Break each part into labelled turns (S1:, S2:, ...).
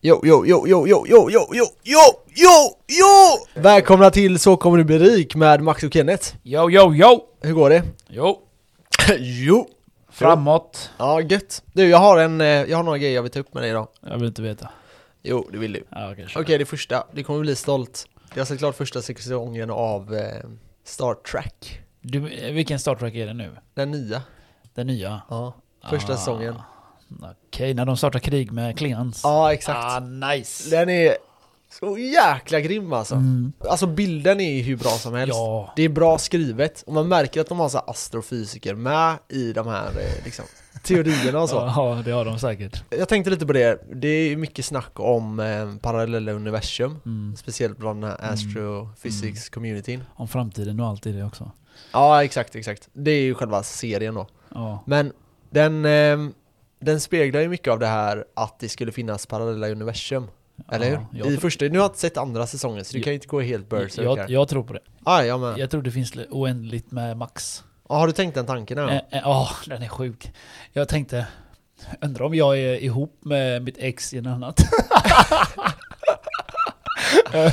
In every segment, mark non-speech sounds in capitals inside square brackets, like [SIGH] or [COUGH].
S1: Jo, jo, jo, jo, jo, jo, jo, jo, jo, jo, jo! Välkomna till Så kommer du bli rik med Max och Kenneth.
S2: Yo, yo, yo!
S1: Hur går det?
S2: Jo, [COUGHS]
S1: jo!
S2: framåt.
S1: Ja, gött. Du, jag har en, eh, jag har några grejer jag vill ta upp med dig idag.
S2: Jag vill inte veta.
S1: Jo, det vill du.
S2: Ja, okej,
S1: Okej, det första. Du kommer bli stolt. Jag har sett klart första säsongen av eh, Star Trek.
S2: du, eh, vilken Star Trek är det nu?
S1: Den nya.
S2: Den nya?
S1: Ja, första
S2: Ah,
S1: säsongen.
S2: Okej, när de startar krig med Klingons.
S1: Ja, exakt.
S2: Ah, nice!
S1: Den är så jäkla grym alltså.
S2: Mm.
S1: Alltså bilden är ju hur bra som helst.
S2: Ja.
S1: Det är bra skrivet och man märker att de har så här astrofysiker med i de här eh, liksom, teorierna och så.
S2: [LAUGHS] Ja, det har de säkert.
S1: Jag tänkte lite på det, det är ju mycket snack om eh, parallella universum,
S2: Mm.
S1: speciellt bland den här astrophysics communityn.
S2: Om framtiden och allt i det också.
S1: Ja, exakt, exakt. Det är ju själva serien då.
S2: Ja.
S1: Men den, eh, den speglar ju mycket av det här att det skulle finnas parallella universum. Eller
S2: Ja,
S1: hur?
S2: jag
S1: I
S2: tror-
S1: första, nu har jag inte sett andra säsongen så du
S2: Jag-
S1: kan ju inte gå helt berserk
S2: Jag,
S1: här.
S2: jag tror på det.
S1: Ah, ja, men.
S2: Jag tror det finns li- oändligt med Max.
S1: Ah, har du tänkt den tanken?
S2: Ja,
S1: här?
S2: eh, eh, ah, den är sjuk. Jag tänkte, undrar om jag är ihop med mitt ex i något [LAUGHS] annat.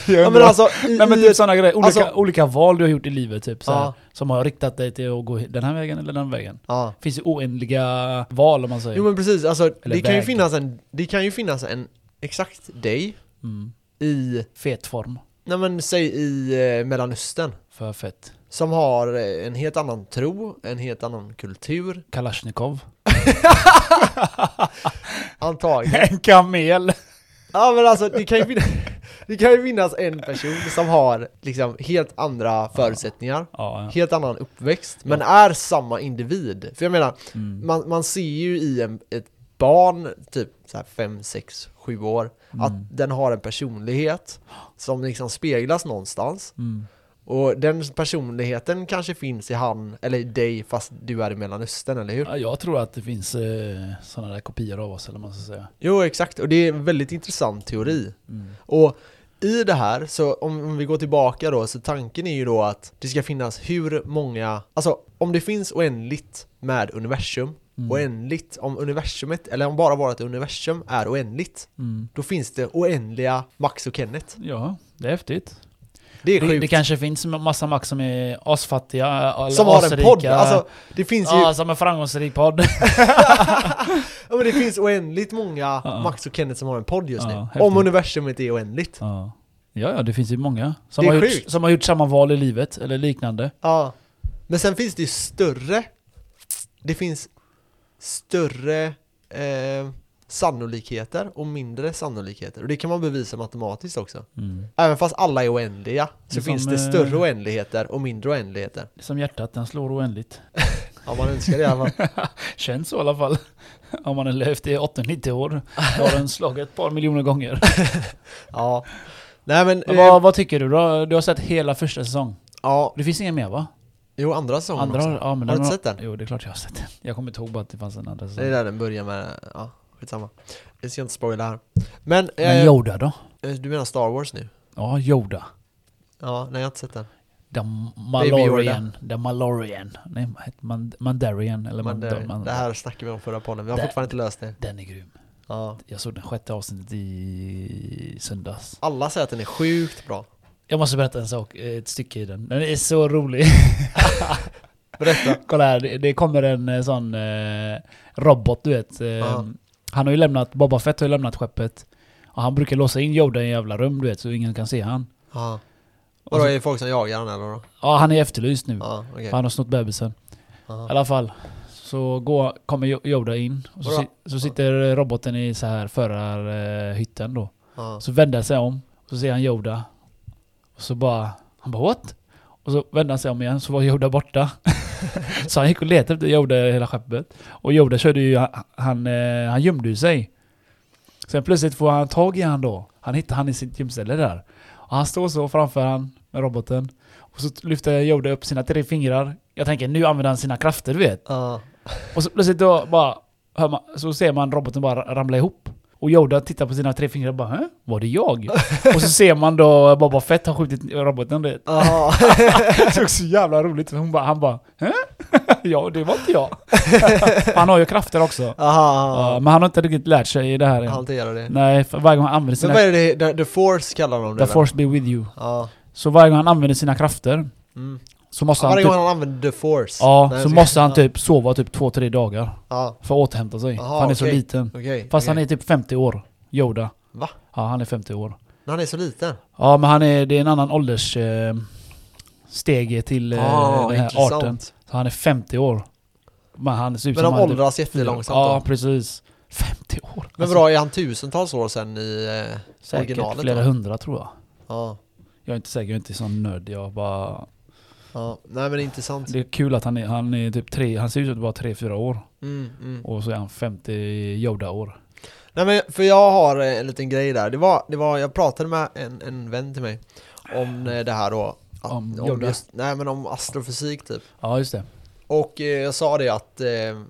S1: Ja, men alltså, i,
S2: Nej men
S1: i,
S2: typ sådana grejer, olika,
S1: alltså-
S2: olika val du har gjort i livet typ så här,
S1: Ja.
S2: Som har riktat dig till att gå den här vägen eller den vägen
S1: ja.
S2: Finns ju oändliga val om man säger
S1: Jo men precis, alltså, det, kan ju
S2: Typ. väg. typ.
S1: finnas en, det kan ju finnas en exakt dig
S2: mm.
S1: i,
S2: Fet form,
S1: nej men säg i eh, Mellanöstern.
S2: för fett
S1: Som har eh, en helt annan tro, en helt annan kultur, [LAUGHS]
S2: Kalashnikov [LAUGHS]
S1: antagligen.
S2: En kamel!
S1: ja men alltså det kan, ju finnas, [LAUGHS] det kan ju finnas en person som har liksom helt andra förutsättningar.
S2: Ja, ja.
S1: Helt annan uppväxt, men är samma individ. För jag menar,
S2: Mm.
S1: man, man ser ju i en, ett barn, typ så här 5, 6, 7 år, att den har en personlighet som liksom speglas någonstans.
S2: Mm.
S1: Och den personligheten kanske finns i han, eller i dig, fast du är i Mellanöstern, eller hur?
S2: Ja, jag tror att det finns eh, sådana där kopior av oss eller vad man ska säga
S1: Jo, exakt. Och det är en väldigt intressant teori.
S2: Mm.
S1: Och i det här, så om, om vi går tillbaka då, så tanken är ju då att det ska finnas hur många, alltså om det finns oändligt med universum,
S2: Mm.
S1: oändligt, om universumet, eller om bara vårt universum är oändligt,
S2: mm.
S1: då finns det oändliga Max och Kenneth.
S2: Ja, det är häftigt
S1: Det är
S2: det,
S1: sjukt.
S2: det kanske finns en massa Max som är asfattiga eh, eller
S1: som har en
S2: asrika.
S1: podd, alltså det finns ju,
S2: Ja, som en
S1: [LAUGHS]
S2: framgångsrik podd
S1: ja, men det finns oändligt många
S2: Ja.
S1: Max och Kenneth som har en podd just
S2: Ja,
S1: nu.
S2: häftigt.
S1: Om universumet är oändligt.
S2: Ja, ja, ja det finns ju många som
S1: Det är
S2: har, gjort,
S1: sjukt.
S2: som har gjort samma val i livet eller liknande.
S1: Ja. Men sen finns det ju större Det finns större eh, sannolikheter och mindre sannolikheter. Och det kan man bevisa matematiskt också. Även fast alla är oändliga så
S2: Det är
S1: finns
S2: som,
S1: det
S2: eh,
S1: större oändligheter och mindre oändligheter.
S2: Det är Som hjärtat, den slår oändligt.
S1: Ja, man önskar det i alla
S2: [LAUGHS]
S1: fall.
S2: Känns så i alla fall. [LAUGHS] Om man har levt i 80-90 år har den slagit ett par
S1: [LAUGHS]
S2: miljoner gånger.
S1: Ja. Nej men,
S2: Men
S1: eh,
S2: vad, vad tycker du då? Du har sett hela första säsong.
S1: ja.
S2: Det finns ingen mer va?
S1: Jo, andra säsongen
S2: Andra
S1: också.
S2: har, ja, men
S1: Har du
S2: den
S1: inte sett den?
S2: Jo, det är klart jag har sett den. Jag kommer inte ihåg bara att det fanns en andra
S1: Det är
S2: säsong.
S1: där den börjar med, ja, skitsamma. Jag ska inte spoila här. Men, eh,
S2: Men Yoda då?
S1: eh, du menar Star Wars nu?
S2: Ja, Yoda.
S1: Ja, nej jag har inte sett den.
S2: The
S1: Baby Yoda.
S2: Malorian. The Malorian. Nej, vad heter man- Mandarian. Eller
S1: Men det,
S2: Mandar- Man,
S1: det här snackade vi om förra podden, vi har
S2: Där.
S1: fortfarande inte löst det.
S2: Den är grym.
S1: Ja.
S2: Jag såg den sjätte avsnittet i söndags.
S1: Alla säger att den är sjukt bra.
S2: Jag måste berätta en sak, eh, ett stycke i den. Den är så rolig. [LAUGHS]
S1: Berätta.
S2: Kolla här, det, det kommer en eh, sån eh, robot du vet. Eh,
S1: Ja.
S2: Han har ju lämnat, Boba Fett har ju lämnat skeppet. Och han brukar låsa in Yoda i en jävla rum du vet, så ingen kan se han.
S1: Ja. Vadå,
S2: Alltså-
S1: är det folk som jagar den eller? då?
S2: Ja, han är efterlyst nu.
S1: Ja, okej.
S2: För han har snott bebisen. I
S1: Ja.
S2: alla fall. Så går, kommer Jo- Yoda in. Och så,
S1: Bra.
S2: si, så sitter roboten i så här förarhytten då.
S1: Ja.
S2: Så vänder han sig om, och så ser han Yoda. Och så bara, han bara what? Och så vänder han sig om igen, så var Yoda borta. [LAUGHS] så han gick och letade efter Yoda i hela skeppet. Och Yoda körde ju, han, han, eh, han gömde ju sig. Sen plötsligt får han tag i han då. Han hittar han i sitt gömställe där. Och han står så framför han med roboten. Och så lyfter Yoda upp sina tre fingrar. Jag tänker nu använder han sina krafter du vet.
S1: Ja.
S2: Och så plötsligt då bara hör man, så ser man roboten bara ramla ihop. Och Yoda tittar på sina tre fingrar och bara Hä? Var
S1: [LAUGHS]
S2: det jag? och så ser man då Boba Fett
S1: [LAUGHS]
S2: har skjutit roboten. Det
S1: Ja.
S2: såg så jävla roligt ut. Hon bara, han bara Hä? [LAUGHS] Ja, det var
S1: [LAUGHS]
S2: inte jag. han har ju krafter också. Ja,
S1: Aha,
S2: men han har inte riktigt lärt sig i det här än.
S1: hantera det.
S2: Nej, för varje gång han använder
S1: Men
S2: sina...
S1: vad är det, the, the force kallar de det
S2: The
S1: väl?
S2: force be with you.
S1: Ja.
S2: Så varje gång han använder sina krafter
S1: Mm.
S2: så måste han
S1: Varje
S2: typ...
S1: gång han använder the force.
S2: Ja,
S1: Nej,
S2: så
S1: jag
S2: måste
S1: ska-
S2: han typ sova typ två, tre dagar.
S1: Ja,
S2: För att återhämta sig.
S1: Aha,
S2: för han är så
S1: okej.
S2: liten.
S1: okej.
S2: Fast
S1: okej.
S2: han är typ 50 år, Yoda.
S1: Va?
S2: Ja, han är 50 år.
S1: Men han är så liten.
S2: Ja, men han är, det är en annan ålders... Eh, stege till eh,
S1: Ah,
S2: den här
S1: intressant.
S2: arten. Så han är 50 års. Men han ser ut
S1: Men
S2: som
S1: de
S2: han är typ
S1: åldras
S2: fyra.
S1: jättelångsamt
S2: Ja,
S1: då.
S2: precis. 50 år. Alltså,
S1: Men bra, är han tusentals år sedan i... eh,
S2: säkert
S1: originalet
S2: flera
S1: då?
S2: hundra tror jag.
S1: Ja.
S2: Jag är inte säker, jag är inte sån nörd. Jag bara...
S1: ja. Nej men intressant.
S2: Det är kul att han är, han är typ tre, han ser ut att vara tre, fyra år.
S1: Mm, mm.
S2: Och så är han 50 Yoda-år.
S1: Nej men för jag har eh, en liten grej där. Det var, det var jag pratade med en, en vän till mig om eh, det här då. Att-
S2: Om Yoda?
S1: just, nej men om astrofysik typ.
S2: Ja, just det.
S1: Och eh, jag sa det att, eh,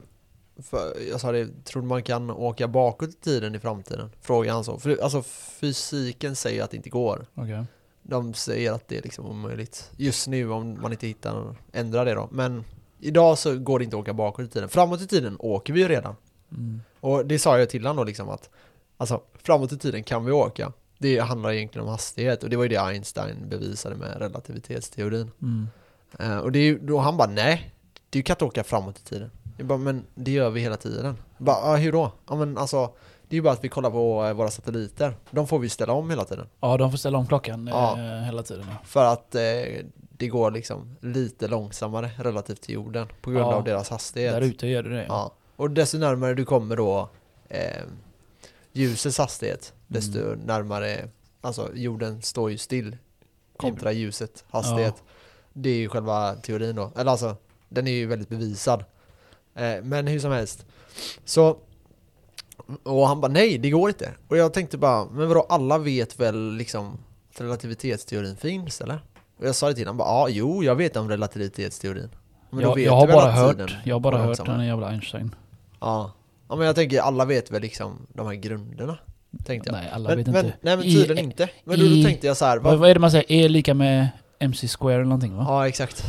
S1: för, jag sa det, tror du man kan åka bakåt i tiden i framtiden? Frågade han så. För, alltså fysiken säger att det inte går.
S2: Okej.
S1: De säger att det är liksom omöjligt. Just nu om man inte hittar, ändra det då. Men idag så går det inte att åka bakåt i tiden. Framåt i tiden åker vi ju redan.
S2: Mm.
S1: Och det sa jag till honom då liksom att Alltså framåt i tiden kan vi åka Det handlar egentligen om hastighet och det var ju det Einstein bevisade med relativitetsteorin
S2: Mm.
S1: eh, Och det är ju då han bara nej Du kan inte åka framåt i tiden jag bara, men det gör vi hela tiden jag bara, ah, hur då? Ja men alltså Det är ju bara att vi kollar på eh, våra satelliter De får vi ställa om hela tiden
S2: Ja, de får ställa om klockan
S1: Ja.
S2: eh, hela tiden. ja.
S1: För att eh, det går liksom lite långsammare relativt till jorden På grund
S2: Ja.
S1: av deras hastighet
S2: Där ute gör du det. Ja.
S1: Ja, och desto närmare du kommer då eh, ljusets hastighet, desto
S2: Mm.
S1: närmare, alltså jorden står ju still kontra ljuset hastighet. Det är ju själva teorin då, eller alltså den är ju väldigt bevisad. Eh, men hur som helst. Så, och han bara nej, det går inte. Och jag tänkte bara, men vadå, alla vet väl liksom att relativitetsteorin finns eller? Och jag sa det till honom, bara ja, jo, jag vet om relativitetsteorin. Men då
S2: jag,
S1: vet
S2: jag
S1: du
S2: har
S1: väl
S2: bara
S1: att
S2: hört,
S1: tiden
S2: jag har bara
S1: går
S2: hört
S1: långsammare?
S2: den jävla Einstein.
S1: Ja. ja, men jag tänker alla vet väl liksom de här grunderna, tänkte jag.
S2: Nej, alla
S1: men,
S2: vet
S1: men,
S2: inte.
S1: Nej men
S2: I-
S1: tydligen inte. Men då, då
S2: i-
S1: tänkte jag så här,
S2: Vad,
S1: va?
S2: vad är det man säger? E lika med MC square eller någonting va?
S1: ja exakt.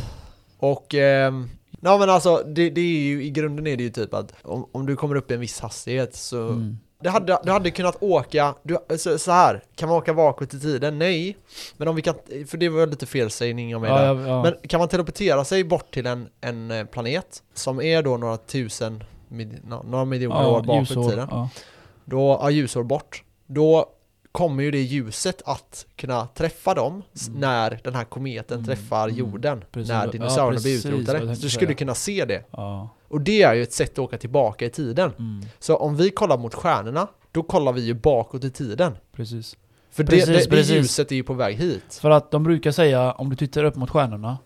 S1: Och, ehm, ja men alltså det, det är ju, i grunden är det ju typ att om, om du kommer upp i en viss hastighet så
S2: Mm.
S1: Du hade, du hade kunnat åka, du, så, så här, kan man åka bakåt i tiden? Nej. Men om vi kan, för det var lite felsägning av mig
S2: Ja,
S1: där.
S2: ja, ja.
S1: Men kan man teleportera sig bort till en, en eh, planet som är då några tusen, mil, nå- några miljoner år bakåt i
S2: ljusår,
S1: tiden?
S2: Ja.
S1: då, ja, ljusår bort, då kommer ju det ljuset att kunna träffa dem s-
S2: Mm.
S1: när den här kometen
S2: Mm,
S1: träffar
S2: mm.
S1: jorden,
S2: Precis,
S1: när
S2: ja,
S1: dinosaurierna blir
S2: precis vad jag
S1: utrotade. Så
S2: tänkte
S1: du skulle
S2: säga.
S1: kunna se det.
S2: Ja.
S1: Och det är ju ett sätt att åka tillbaka i tiden.
S2: Mm.
S1: Så om vi kollar mot stjärnorna, då kollar vi ju bakåt i tiden.
S2: Precis.
S1: För
S2: Precis,
S1: det, det, det
S2: precis.
S1: ljuset är ju på väg hit.
S2: För att de brukar säga, om du tittar upp mot stjärnorna,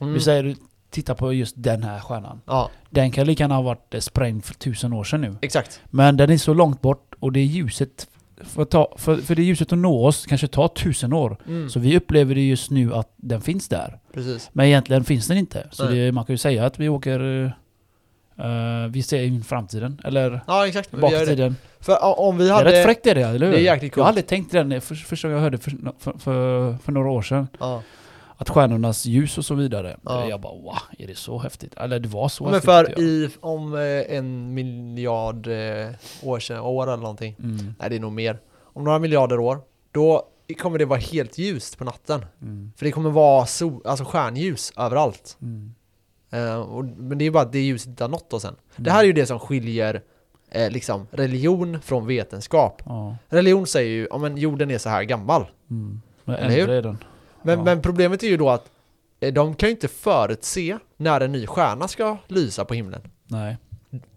S1: Mm.
S2: vi säger du tittar på just den här stjärnan.
S1: Ja,
S2: Den kan lika gärna ha varit eh, sprängd för tusen år sedan nu.
S1: exakt.
S2: Men den är så långt bort och det är ljuset, för, att ta, för, för det ljuset att nå oss kanske tar tusen år.
S1: Mm.
S2: Så vi upplever det just nu att den finns där.
S1: Precis.
S2: Men egentligen finns den inte. Så
S1: Nej.
S2: det, man kan ju säga att vi åker... eh, vi ser in framtiden, eller
S1: Ja, exakt. Men vi
S2: bakåt i
S1: gör det.
S2: tiden.
S1: För ja, om vi
S2: Det är rätt
S1: hade...
S2: fräckt är det, eller hur?
S1: Det är jäkligt
S2: Jag
S1: coolt.
S2: har aldrig tänkt det när- för- första gången jag hörde för, för, för, för några år sedan.
S1: Ja.
S2: Att stjärnornas ljus och så vidare.
S1: Ja.
S2: Jag bara wow, är det så häftigt? Eller det var så
S1: Men
S2: häftigt.
S1: för
S2: ja.
S1: i, om eh, en miljard eh, år sedan, år eller någonting,
S2: mm,
S1: Nej, det är nog mer. Om några miljarder år, då kommer det vara helt ljust på natten.
S2: mm,
S1: För det kommer vara sol, alltså stjärnljus överallt.
S2: mm.
S1: Eh, och, men det är bara att det ljuset inte har nått oss än. Det här är ju det som skiljer eh, liksom, religion från vetenskap.
S2: Ja.
S1: Religion säger ju, ja men jorden är så här gammal.
S2: Mm. Men
S1: Eller hur?
S2: ändra är den.
S1: Men,
S2: Ja.
S1: men problemet är ju då att eh, de kan ju inte förutse när en ny stjärna ska lysa på himlen.
S2: Nej.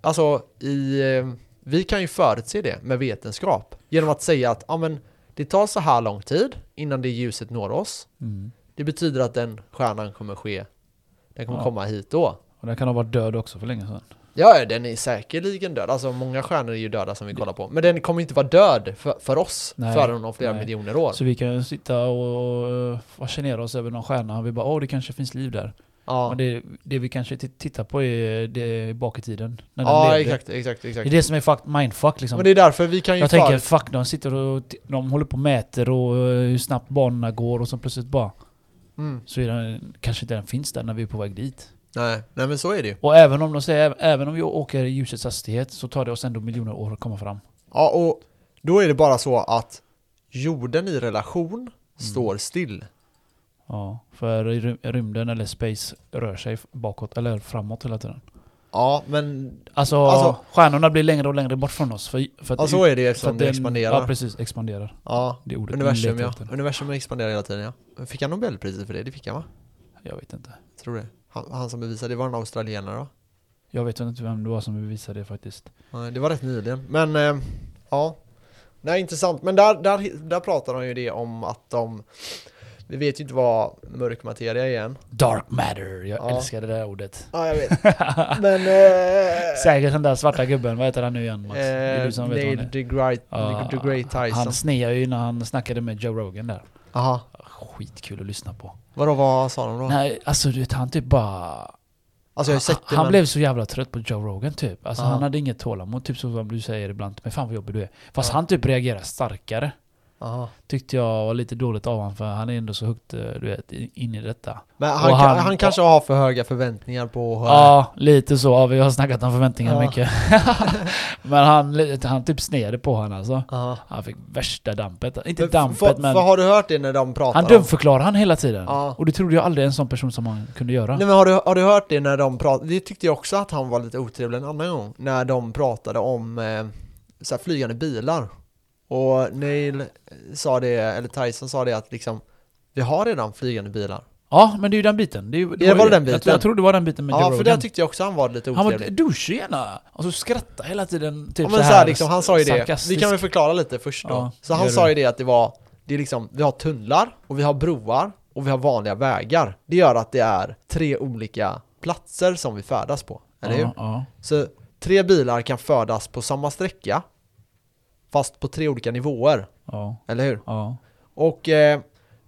S1: Alltså, i, eh, vi kan ju förutse det med vetenskap. Genom att säga att ja, men, det tar så här lång tid innan det ljuset når oss.
S2: Mm.
S1: Det betyder att den stjärnan kommer ske. Den kommer
S2: Ja.
S1: komma hit då.
S2: Och den kan ha varit död också för länge sedan.
S1: Ja, ja, den är säkerligen död. Alltså många stjärnor är ju döda som vi kollar på. Men den kommer inte vara död för, för oss
S2: Nej,
S1: förrän om flera
S2: nej.
S1: miljoner år.
S2: Så vi kan ju sitta och eh, fascinera oss över någon stjärna. Vi bara åh, det kanske finns liv där.
S1: ja,
S2: Men det, det vi kanske t- tittar på är det bak i tiden. När den
S1: ja
S2: levde.
S1: exakt, exakt,
S2: Det är
S1: exakt.
S2: det som är fuck, mindfuck liksom.
S1: Men det är därför vi kan ju
S2: Jag tänker
S1: förut-
S2: fuck, de sitter och t- de håller på och mäter och eh, hur snabbt banorna går och så plötsligt bara
S1: Mm.
S2: så är den, kanske inte den finns där när vi är på väg dit.
S1: Nej, nej men så är det ju.
S2: Och även om de säger, även om vi åker i ljusets hastighet så tar det oss ändå miljoner år att komma fram.
S1: Ja, och då är det bara så att jorden i relation
S2: Mm.
S1: står still.
S2: Ja, för i ry- rymden eller space rör sig bakåt eller framåt hela tiden.
S1: Ja, men
S2: Alltså,
S1: Alltså-
S2: stjärnorna blir längre och längre bort från oss. För, för att
S1: ja, alltså, så är det ju
S2: för att
S1: eftersom det
S2: den-
S1: expanderar.
S2: Ja, precis. Expanderar.
S1: Ja,
S2: Det är ordet.
S1: universum
S2: Letar
S1: ja.
S2: efter.
S1: Universum expanderar hela tiden ja. Fick han Nobelpriset för det? Det fick han va?
S2: Jag vet inte.
S1: Tror det. Han, han som bevisade, det var en australienare va?
S2: Jag vet inte vem det var som bevisade det faktiskt.
S1: Nej, det var rätt nyligen. Men eh, ja, nej intressant. Men där, där, där pratar de ju det om att de, vi vet ju inte vad mörk materia är än.
S2: Dark matter. Jag
S1: Ja.
S2: älskar det där ordet.
S1: Ja, jag
S2: [LAUGHS]
S1: vet. Men... Eh,
S2: Säkert den där svarta gubben. Vad heter han nu igen Max? det är du som vet vad
S1: Neil
S2: han är.
S1: deGrasse
S2: Ja,
S1: DeGrasse Tyson.
S2: Han sneade ju när han snackade med Joe Rogan där.
S1: Aha.
S2: Skitkul att lyssna på.
S1: Vadå, vad sa de då?
S2: Nej, alltså du vet han typ bara...
S1: Alltså jag har ju
S2: han
S1: sett det
S2: han
S1: men-
S2: blev så jävla trött på Joe Rogan typ. Alltså
S1: Ja.
S2: han hade inget tålamod, typ som du säger ibland. Men fan vad jobbig du är. Fast
S1: Ja.
S2: han typ reagerar starkare.
S1: Aha.
S2: Tyckte jag var lite dåligt av honom för han är ändå så högt, eh, du vet, in in i detta.
S1: Men han,
S2: Och
S1: han,
S2: han-
S1: han kanske har för höga förväntningar på...
S2: Ja, lite så. Ja, vi har snackat om förväntningar
S1: Ja.
S2: mycket. [LAUGHS] men han, han typ sneade på honom alltså.
S1: Aha.
S2: Han fick värsta dampet. Inte
S1: Men
S2: dampet
S1: för,
S2: men...
S1: för har du hört det när de pratar
S2: han dumförklarar han hela tiden.
S1: Ja.
S2: Och det trodde jag aldrig en sån person som han kunde göra.
S1: om... Nej men har du, har du hört det när de pratar... Det tyckte jag också att han var lite otrevlig en annan gång. När de pratade om eh, så här, flygande bilar. Och Neil sa det, eller Tyson sa det att liksom vi har redan flygande bilar.
S2: Ja, men det är ju den biten. Det, är ju-
S1: Ja, var
S2: ju-
S1: det den biten?
S2: Jag, tror- jag tror det var den biten med
S1: Ja,
S2: Joe
S1: för
S2: Rogan.
S1: där tyckte jag också han var lite
S2: han
S1: otrevlig.
S2: var douchig gärna. Och så skrattade hela tiden. Typ
S1: ja, men så här, liksom, han sa ju det, vi
S2: sarkastisk.
S1: kan väl förklara lite först då.
S2: Ja,
S1: så han
S2: gör
S1: sa
S2: det.
S1: ju det att det var, det är liksom, vi har tunnlar och vi har broar och vi har vanliga vägar. Det gör att det är tre olika platser som vi färdas på, eller hur?
S2: ja, ja.
S1: Så tre bilar kan färdas på samma sträcka, fast på tre olika nivåer,
S2: ja,
S1: eller hur?
S2: ja.
S1: Och eh,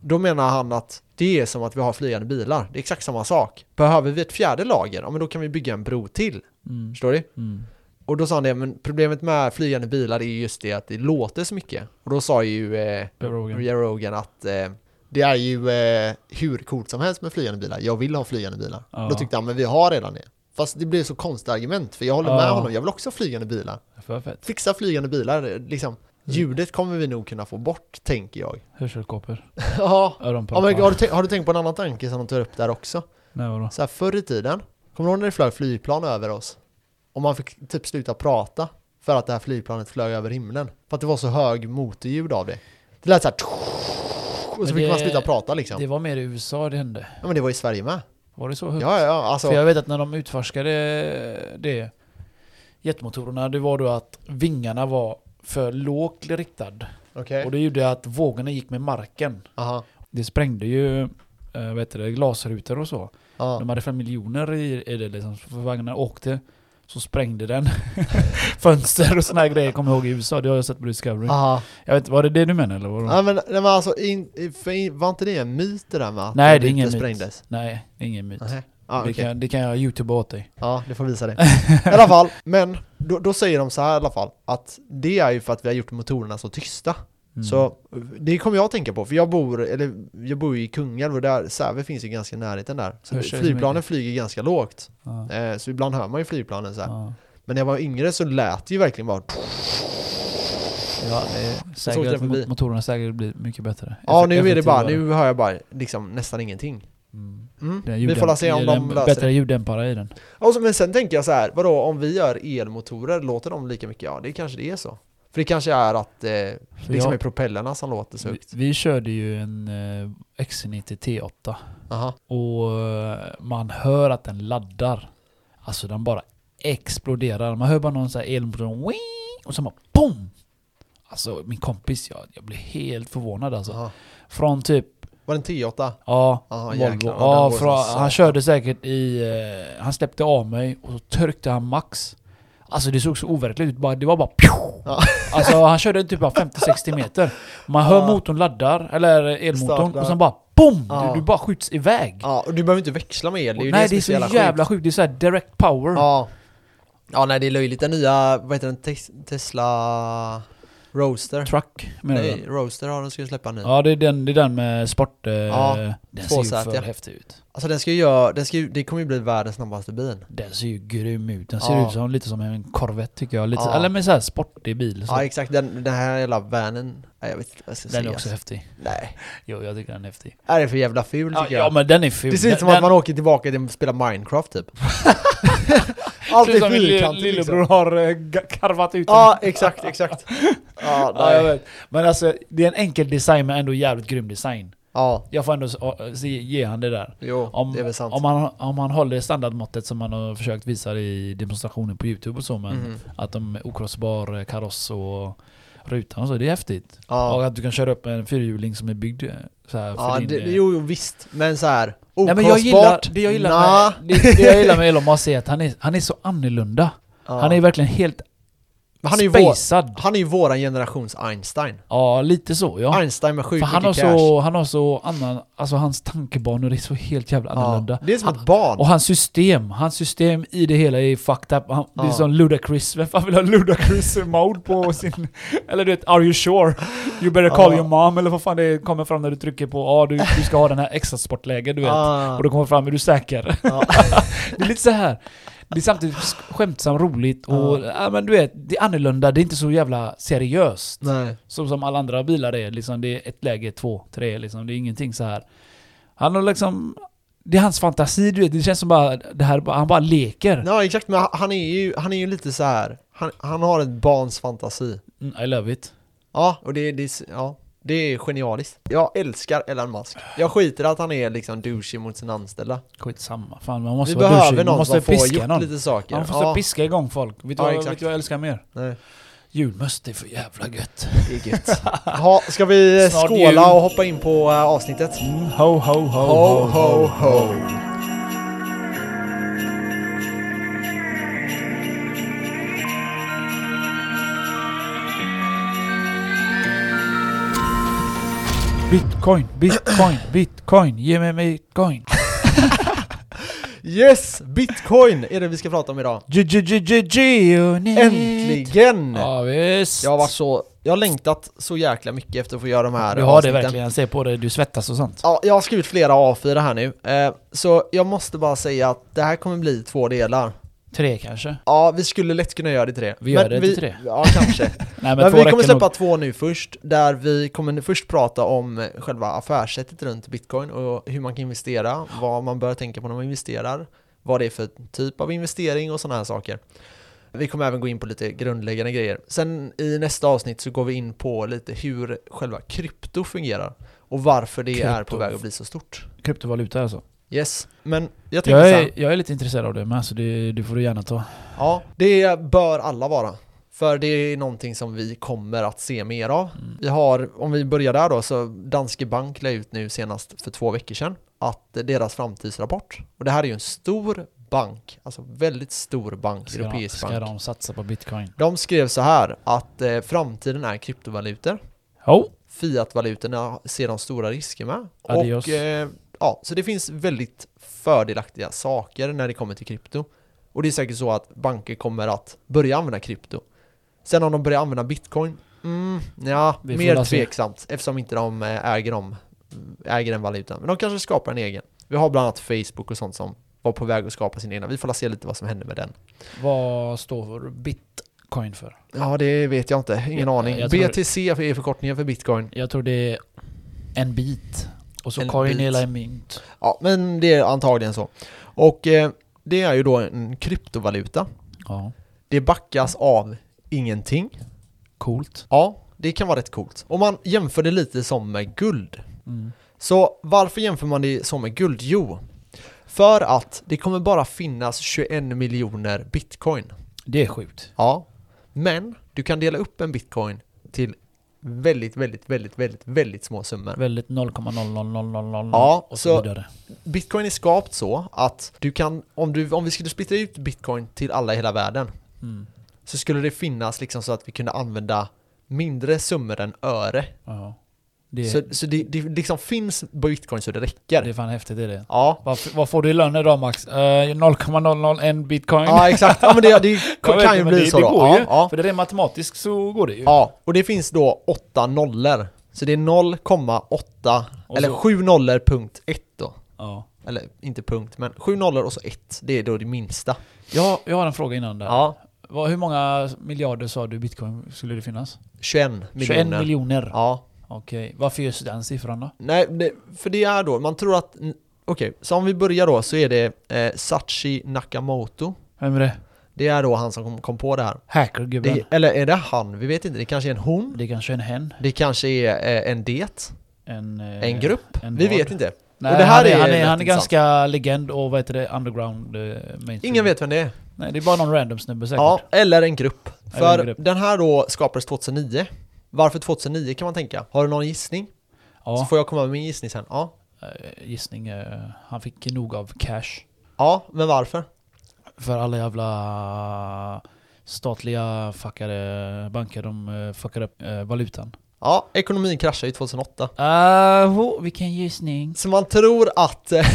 S1: då menar han att det är som att vi har flygande bilar, det är exakt samma sak. Behöver vi ett fjärde lager, ja men då kan vi bygga en bro till,
S2: Mm,
S1: förstår du?
S2: mm.
S1: Och då sa han det, men problemet med flygande bilar är just det att det låter så mycket. Och då sa ju eh,
S2: Joe Rogan.
S1: Joe Rogan att eh, det är ju eh, hur coolt som helst med flygande bilar. Jag vill ha flygande bilar.
S2: Ja.
S1: Då tyckte han, men vi har redan det. Fast det blir så konstigt argument, för jag håller med
S2: Ja.
S1: honom. Jag vill också ha flygande bilar.
S2: För fett.
S1: Fixa flygande bilar,
S2: Mm.
S1: liksom. Ljudet kommer vi nog kunna få bort, tänker
S2: [LAUGHS]
S1: jag.
S2: Hörselkåpor.
S1: ja. ja
S2: Öronproppar.
S1: men, har, du tänkt, har du tänkt på en annan tanke som de tar upp där också?
S2: Nej, vadå?
S1: Så här, förr i tiden, kommer du ihåg när det flög flygplan över oss? Och man fick typ sluta prata för att det här flygplanet flög över himlen. För att det var så hög motorljud av det. Det lät så här... Och så
S2: Men
S1: fick
S2: det-
S1: man sluta prata liksom.
S2: Det var mer i USA det hände.
S1: Ja men det var i Sverige med.
S2: Var det så
S1: Ja
S2: högt?
S1: ja ja, alltså.
S2: För jag vet att när de utforskade det, jetmotorerna, det var då att vingarna var för lågt riktad.
S1: Okej.
S2: Och det gjorde att vågorna gick med marken.
S1: Aha.
S2: Det sprängde ju eh, vad heter det, glasrutor och så.
S1: Ja.
S2: De hade fem miljoner i, i det liksom. För vagnarna åkte, så sprängde den [LAUGHS] fönster och såna här grejer. Kommer jag ihåg i USA, det har jag sett på Discovery.
S1: Aha.
S2: Jag vet, var det det du menade eller? Var det?
S1: Ja, men, nej, men alltså, in, i- för in, var inte det en myt det där med att
S2: Nej, det är
S1: inte
S2: ingen myt.
S1: sprängdes?
S2: Nej, ingen myt.
S1: Nej. Ja,
S2: det,
S1: okej.
S2: kan, det kan jag youtuba åt dig.
S1: Ja, du får
S2: [LAUGHS]
S1: visa det. I alla fall, men då, då säger de så här i alla fall, att det är ju för att vi har gjort motorerna så tysta.
S2: Mm.
S1: Så det kommer jag att tänka på, för jag bor, eller, jag bor ju i Kungälv och där, Säve finns ju ganska i närheten där. Så
S2: Hur ser det
S1: flygplanen
S2: mycket?
S1: flyger ganska lågt,
S2: ja,
S1: eh, så ibland hör man ju flygplanen så här.
S2: ja.
S1: Men när jag var yngre så lät det ju verkligen bara
S2: Ja, det är
S1: såg
S2: säkert
S1: det
S2: att
S1: förbi.
S2: mot- motorerna säkert blir mycket bättre.
S1: Ja
S2: Effek-
S1: nu är det bara,
S2: effektivare.
S1: nu hör jag bara liksom nästan ingenting.
S2: Mm.
S1: Mm.
S2: Den
S1: Vi får
S2: ljuddämp-
S1: la se om
S2: det är
S1: de
S2: en
S1: löser
S2: Bättre
S1: det.
S2: ljuddämpare i den.
S1: Och så, men sen tänker jag så här, vadå om vi gör elmotorer, låter de lika mycket? Ja det kanske det är så. För det kanske är att eh,
S2: För
S1: liksom är
S2: jag,
S1: propellerna som låter så
S2: vi,
S1: högt.
S2: vi körde ju en eh, XC90 T8
S1: Aha.
S2: och eh, man hör att den laddar. Alltså den bara exploderar. Man hör bara någon sån här elmotor "Wii", och så bara BOOM! Alltså min kompis, jag, jag blev helt förvånad alltså.
S1: Aha.
S2: Från typ,
S1: Var det en T8?
S2: ja,
S1: Aha,
S2: Volvo.
S1: jäklar,
S2: Ja,
S1: den går
S2: för
S1: som
S2: han, han
S1: satan.
S2: körde säkert i... Eh, han släppte av mig och så tryckte han max. Alltså det såg så overkligt ut. Bara, det var bara... pju!
S1: Ja.
S2: [LAUGHS] Alltså han körde typ bara 50-60 meter. Man hör
S1: Ja.
S2: motorn laddar, eller elmotorn,
S1: Startar.
S2: och sen bara BOOM!
S1: Ja.
S2: Du, du bara skjuts iväg.
S1: Ja, och du behöver inte växla med el, det är ju
S2: Nej
S1: det
S2: det är så
S1: som är
S2: jävla,
S1: så jävla sjukt.
S2: sjukt. Det är så här direct power.
S1: Ja. ja, nej det är löjligt. Den nya, vad heter den, Tes- Tesla... Roaster.
S2: Truck menar du?
S1: Nej, Roaster har de ska ju släppa nu.
S2: Ja, det är den, det är den med sport... Eh,
S1: Ja,
S2: den ser ju
S1: tvåsätiga.
S2: för häftig ut.
S1: Alltså den ska ju göra, den ska ju, det kommer ju bli världens snabbaste bil.
S2: Den ser ju grym ut. Den ser
S1: Ja.
S2: ut som, lite som en Corvette tycker jag. Lite,
S1: Ja.
S2: Eller med så här sportig bil. Så.
S1: Ja exakt, den, den här jävla vanen. Nej, jag vet inte vad jag ska
S2: den är
S1: säga.
S2: också häftig.
S1: Nej,
S2: Jo, jag tycker den är häftig.
S1: är det för jävla ful
S2: Ja,
S1: tycker
S2: ja
S1: jag.
S2: men den är ful.
S1: Det ser ut som
S2: den,
S1: att man åker tillbaka till att spela Minecraft
S2: [LAUGHS]
S1: typ.
S2: den,
S1: Allt
S2: ser ut
S1: är
S2: som min li-
S1: fyrkantigt
S2: lillebror
S1: liksom.
S2: har eh, ga- karvat ut den.
S1: Ja, exakt,
S2: [LAUGHS]
S1: exakt. Ja,
S2: Ja, jag
S1: nej.
S2: vet. Men alltså, det är en enkel design men ändå jävligt grym design.
S1: Ja,
S2: Jag får ändå s- å- se- ge han det där.
S1: jo,
S2: Om,
S1: det är väl sant.
S2: om, han, om han håller standardmåttet som han har försökt visa i demonstrationer på youtube och så men
S1: Mhm.
S2: att de är okrossbar eh, kaross och rutan och så, det är häftigt.
S1: Ja.
S2: Och att du kan köra upp en fyrhjuling som är byggd eh, så här
S1: Ja,
S2: för din...
S1: det,
S2: eh,
S1: jo, jo visst, men så här
S2: Nej, men jag gillar,
S1: okrossbart?
S2: det, jag gillar
S1: Nah.
S2: med, det, det jag gillar med Elon Musk är att han är, han är så annorlunda.
S1: Ja.
S2: Han är verkligen helt
S1: Men han är ju vår,
S2: spacad.
S1: han är ju våran generations Einstein.
S2: Ja, lite så ja.
S1: Einstein med sjukt
S2: För
S1: mycket
S2: han har,
S1: cash.
S2: så, han har så annan, alltså hans tankebanor är så helt jävla annorlunda.
S1: Ja, det är som
S2: han,
S1: ett barn.
S2: och hans system, hans system i det hela är fucked up. Han, Det är
S1: Ja.
S2: som Ludacris, vem fan vill ha Ludacris
S1: [LAUGHS]
S2: mode på sin... Eller du vet, Are you sure? You better call
S1: Ja.
S2: your mom, eller vad fan det kommer fram när du trycker på ah, du, du ska ha den här extra sportläge, du vet.
S1: Ah,
S2: Och då kommer fram, är du säker?
S1: Ja.
S2: [LAUGHS] det är lite så här. Det är samtidigt skämtsamt, roligt och ja, men du vet, det är annorlunda, det är inte så jävla seriöst.
S1: nej.
S2: Så som alla andra bilar är. Liksom, det är ett läge, två, tre. Liksom. Det är ingenting så här. Han har liksom... Det är hans fantasi, du vet. Det känns som bara... Det här, bara- han bara leker.
S1: Ja, exakt, men han är ju, han är ju lite så här. Han, han har ett barns fantasi.
S2: Mm, I love it.
S1: Ja, och det, det, ja, det är genialiskt. Jag älskar Elon Musk. Jag skiter i att han är liksom douchey mot sina anställda.
S2: Skitsamma. Fan, man måste
S1: Vi
S2: vara
S1: behöver
S2: douchig. Man
S1: någon
S2: måste
S1: som får
S2: piska
S1: gjort
S2: någon.
S1: lite saker.
S2: Ja, man måste piska igång folk. Vet
S1: Ja,
S2: du vad-
S1: exakt.
S2: vet du vad jag älskar mer?
S1: nej,
S2: Julmust, det är för jävla gött.
S1: det är gött. ha, ska vi eh,
S2: Snart
S1: skåla
S2: jul.
S1: och hoppa in på eh, avsnittet?
S2: Mm, ho, ho, ho,
S1: Ho, ho, ho.
S2: Bitcoin,
S1: [CLEARS THROAT]
S2: bitcoin, bitcoin. Ge mig bitcoin.
S1: Yes! Bitcoin är det vi ska prata om idag.
S2: G- g- g- g- Geonet.
S1: Äntligen!
S2: Ja, visst.
S1: Jag har varit så, jag har längtat så jäkla mycket efter att få göra de här
S2: Du har det
S1: avsnitten.
S2: verkligen, se på dig, du svettas och sånt.
S1: Ja, jag har skrivit flera A4 här nu, eh, så jag måste bara säga att det här kommer bli två delar.
S2: Tre kanske?
S1: Ja, vi skulle lätt kunna göra det till det.
S2: Vi gör det till tre.
S1: Ja, kanske.
S2: Nej
S1: Men
S2: men, två
S1: vi
S2: räcker
S1: kommer släppa
S2: nog.
S1: två nu först, där vi kommer först prata om själva affärssättet runt bitcoin och hur man kan investera, vad man bör tänka på när man investerar, vad det är för typ av investering och sådana här saker. Vi kommer även gå in på lite grundläggande grejer. Sen i nästa avsnitt så går vi in på lite hur själva krypto fungerar och varför det är
S2: Krypto.
S1: på väg att bli så stort.
S2: Kryptovaluta alltså.
S1: Yes, men jag tänker
S2: Jag
S1: så här,
S2: är, jag är lite intresserad av det men alltså det, det får du gärna ta.
S1: ja, det bör alla vara. För det är någonting som vi kommer att se mer av.
S2: Mm.
S1: Vi har, om vi börjar där då, så Danske Bank la ut nu senast för två veckor sedan att deras framtidsrapport, och det här är ju en stor bank, alltså väldigt stor bank,
S2: Ska, de,
S1: europeisk
S2: ska
S1: bank.
S2: de satsa på bitcoin?
S1: De skrev så här att eh, framtiden är kryptovalutor,
S2: Oh,
S1: fiatvalutorna ser de stora risker med.
S2: Adios.
S1: Och, eh, ja, så det finns väldigt fördelaktiga saker när det kommer till krypto. Och det är säkert så att banker kommer att börja använda krypto. Sen om de börjar använda bitcoin, mm, ja,
S2: Vi får väl
S1: mer
S2: se.
S1: tveksamt eftersom inte de eh, äger, dem, äger den valutan. Men de kanske skapar en egen. Vi har bland annat Facebook och sånt som var på väg att skapa sin egna. Vi får la se lite vad som händer med den.
S2: vad står bitcoin för?
S1: Ja, det vet jag inte. Ingen
S2: Jag-
S1: aning.
S2: jag tror-
S1: BTC är förkortningen för bitcoin.
S2: Jag tror det är en bit. Och så
S1: En
S2: coin
S1: bit.
S2: hela en mynt.
S1: Ja, men det är antagligen så. Och eh, det är ju då en kryptovaluta.
S2: Ja,
S1: Det backas av ingenting.
S2: coolt.
S1: Ja, det kan vara rätt coolt. Om man jämför det lite som med guld.
S2: Mm.
S1: Så varför jämför man det som med guld? Jo, för att det kommer bara finnas 21 miljoner bitcoin.
S2: Det är sjukt.
S1: Ja, men du kan dela upp en bitcoin till väldigt, väldigt, väldigt, väldigt, väldigt små summor.
S2: Väldigt 0,00000
S1: Ja,
S2: och så,
S1: så-
S2: vidare.
S1: Bitcoin är skapt så att du kan, om, du, om vi skulle splittra ut bitcoin till alla i hela världen,
S2: Mm.
S1: så skulle det finnas liksom så att vi kunde använda mindre summor än öre
S2: Ja. Det,
S1: Så, så det, det liksom finns bitcoin så det räcker.
S2: det är fan häftigt är det.
S1: Ja.
S2: Vad, f- vad får du i lön idag Max? Eh, 0,001 bitcoin.
S1: ja, exakt. Ja, men det,
S2: [LAUGHS]
S1: det
S2: Jag
S1: kan
S2: vet
S1: ju bli
S2: inte, men det,
S1: så
S2: det
S1: då.
S2: Går
S1: ja,
S2: ju.
S1: ja.
S2: För det är matematiskt så går det ju.
S1: ja, och det finns då åtta nollor. Så det är 0,8
S2: Och
S1: eller
S2: så-
S1: 7 nollor punkt 1 då.
S2: Ja.
S1: Eller inte punkt, men 7 nollor och så 1. Det är då det minsta.
S2: Jag, jag har en fråga innan där.
S1: Ja,
S2: Vad- Hur många miljarder sa du bitcoin skulle det finnas?
S1: 21 miljoner.
S2: 21 miljoner.
S1: Ja.
S2: Okej, varför just den siffran då?
S1: Nej, det, för det är då, man tror att... n- Okej, så om vi börjar då så är det eh, Sachi Nakamoto.
S2: Vem är det?
S1: Det är då han som kom, kom på det här.
S2: Hackergubben.
S1: Det,
S2: Det,
S1: eller är det han? Vi vet inte. Det kanske är en hon.
S2: kanske är en hen.
S1: Det kanske är eh, en det.
S2: En, eh,
S1: En grupp.
S2: en
S1: Vi
S2: vad?
S1: vet inte.
S2: Nej,
S1: Och det här
S2: han,
S1: är
S2: är, han,
S1: rätt
S2: är, han är
S1: intressant.
S2: ganska legend och vad heter det? Underground eh, mainstream.
S1: Ingen vet vem det är.
S2: Nej, det är bara någon random snubbe säkert.
S1: Ja, eller en grupp.
S2: Eller
S1: För
S2: en grupp.
S1: den här då skapades 2009. Varför 2009 kan man tänka. Har du någon gissning? Så
S2: Ja,
S1: får jag komma med min gissning sen. Ja,
S2: eh, gissning. eh, Han fick nog av cash.
S1: ja men varför?
S2: För alla jävla statliga fuckade banker, de eh, fuckade upp eh, valutan.
S1: Ja, ekonomin kraschade ju 2008.
S2: Uh, oh, vilken gissning.
S1: Så man tror att... eh,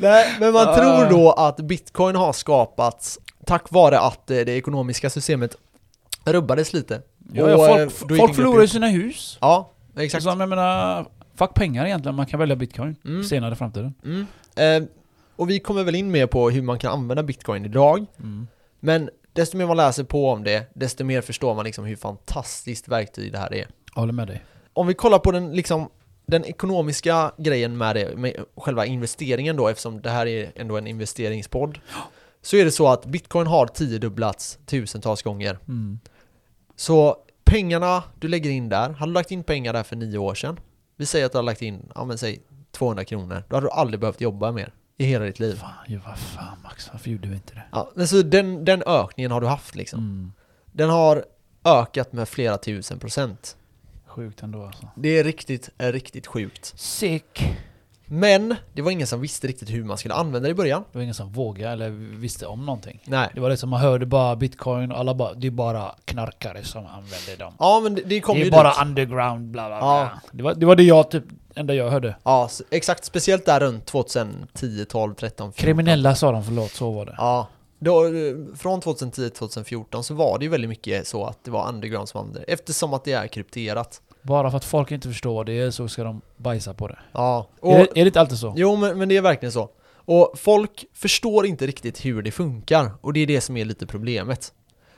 S1: Nej, men man
S2: Ah.
S1: tror då att bitcoin har skapats tack vare att eh, det ekonomiska systemet rubbades lite.
S2: Ja, ja,
S1: Och, eh,
S2: folk
S1: då gick
S2: folk
S1: en grupp
S2: förlorar ju
S1: ut.
S2: sina hus.
S1: Ja, exakt.
S2: Så jag menar, fuck pengar egentligen. Man kan välja bitcoin
S1: Mm.
S2: senare i framtiden.
S1: Mm. Eh, och vi kommer väl in mer på hur man kan använda bitcoin idag.
S2: Mm.
S1: Men desto mer man läser på om det, desto mer förstår man liksom hur fantastiskt verktyg det här är.
S2: Jag håller med dig.
S1: om vi kollar på den liksom den ekonomiska grejen med, det, med själva investeringen då, eftersom det här är ändå en investeringspodd, så är det så att bitcoin har tiodubblats tusentals gånger.
S2: Mm.
S1: Så pengarna du lägger in där, hade du lagt in pengar där för nio år sedan, vi säger att du har lagt in, ja men säg 200 kronor, då hade du aldrig behövt jobba mer i hela ditt liv.
S2: Fan, ju vad fan Max, varför gjorde vi inte det?
S1: Ja, men så den, den ökningen har du haft liksom.
S2: Mm.
S1: Den har ökat med flera tusen procent.
S2: Sjukt ändå alltså.
S1: Det är riktigt, är riktigt sjukt.
S2: Sick!
S1: Men det var ingen som visste riktigt hur man skulle använda det i början.
S2: Det var ingen som vågade eller visste om någonting.
S1: Nej.
S2: Det var liksom, man hörde bara bitcoin och alla bara, det är bara knarkare som använder dem.
S1: Ja men det, det kom
S2: det
S1: ju
S2: är bara
S1: dit.
S2: underground bla bla bla.
S1: Ja.
S2: Det, var, det var det jag typ, enda jag hörde.
S1: Ja, s- exakt. Speciellt där runt 2010, 12, 13, 14.
S2: Kriminella sa de, förlåt, så var det.
S1: Ja. Då, eh, från 2010 till 2014 så var det ju väldigt mycket så att det var underground som använde det. Eftersom att det är krypterat.
S2: Bara för att folk inte förstår vad det är så ska de bajsa på det.
S1: Ja. Och,
S2: är, det är det inte alltid så?
S1: Jo men, men det är verkligen så. Och folk förstår inte riktigt hur det funkar. Och det är det som är lite problemet.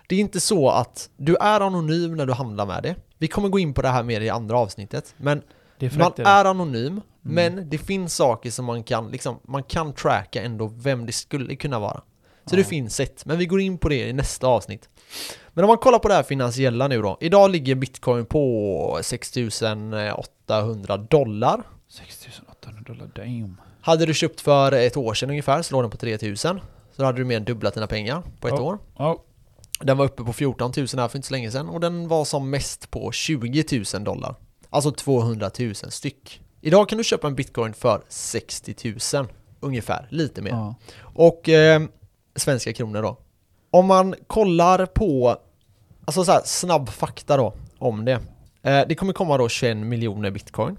S1: Det är inte så att du är anonym när du handlar med det. Vi kommer gå in på det här mer i andra avsnittet. Men
S2: Det Mm. är
S1: Man
S2: fräckt.
S1: är anonym, men det finns saker som man kan, liksom, man kan tracka ändå vem det skulle kunna vara. Så det
S2: Ja.
S1: finns sätt, men vi går in på det i nästa avsnitt. Men om man kollar på det här finansiella nu då. Idag ligger bitcoin på 6800 dollar.
S2: 6800 dollar, damn.
S1: Hade du köpt för ett år sedan ungefär så låg den på 3000. Så då hade du mer än dubblat dina pengar på ett
S2: Ja.
S1: år.
S2: Ja,
S1: Den var uppe på 14 000 här för inte så länge sedan och den var som mest på 20 000 dollar. Alltså 200 000 styck. Idag kan du köpa en bitcoin för 60 000 ungefär, lite mer.
S2: ja.
S1: Och eh, svenska kronor då. Om man kollar på, alltså så här, snabb fakta då om det. Eh, det kommer komma då 21 miljoner bitcoin.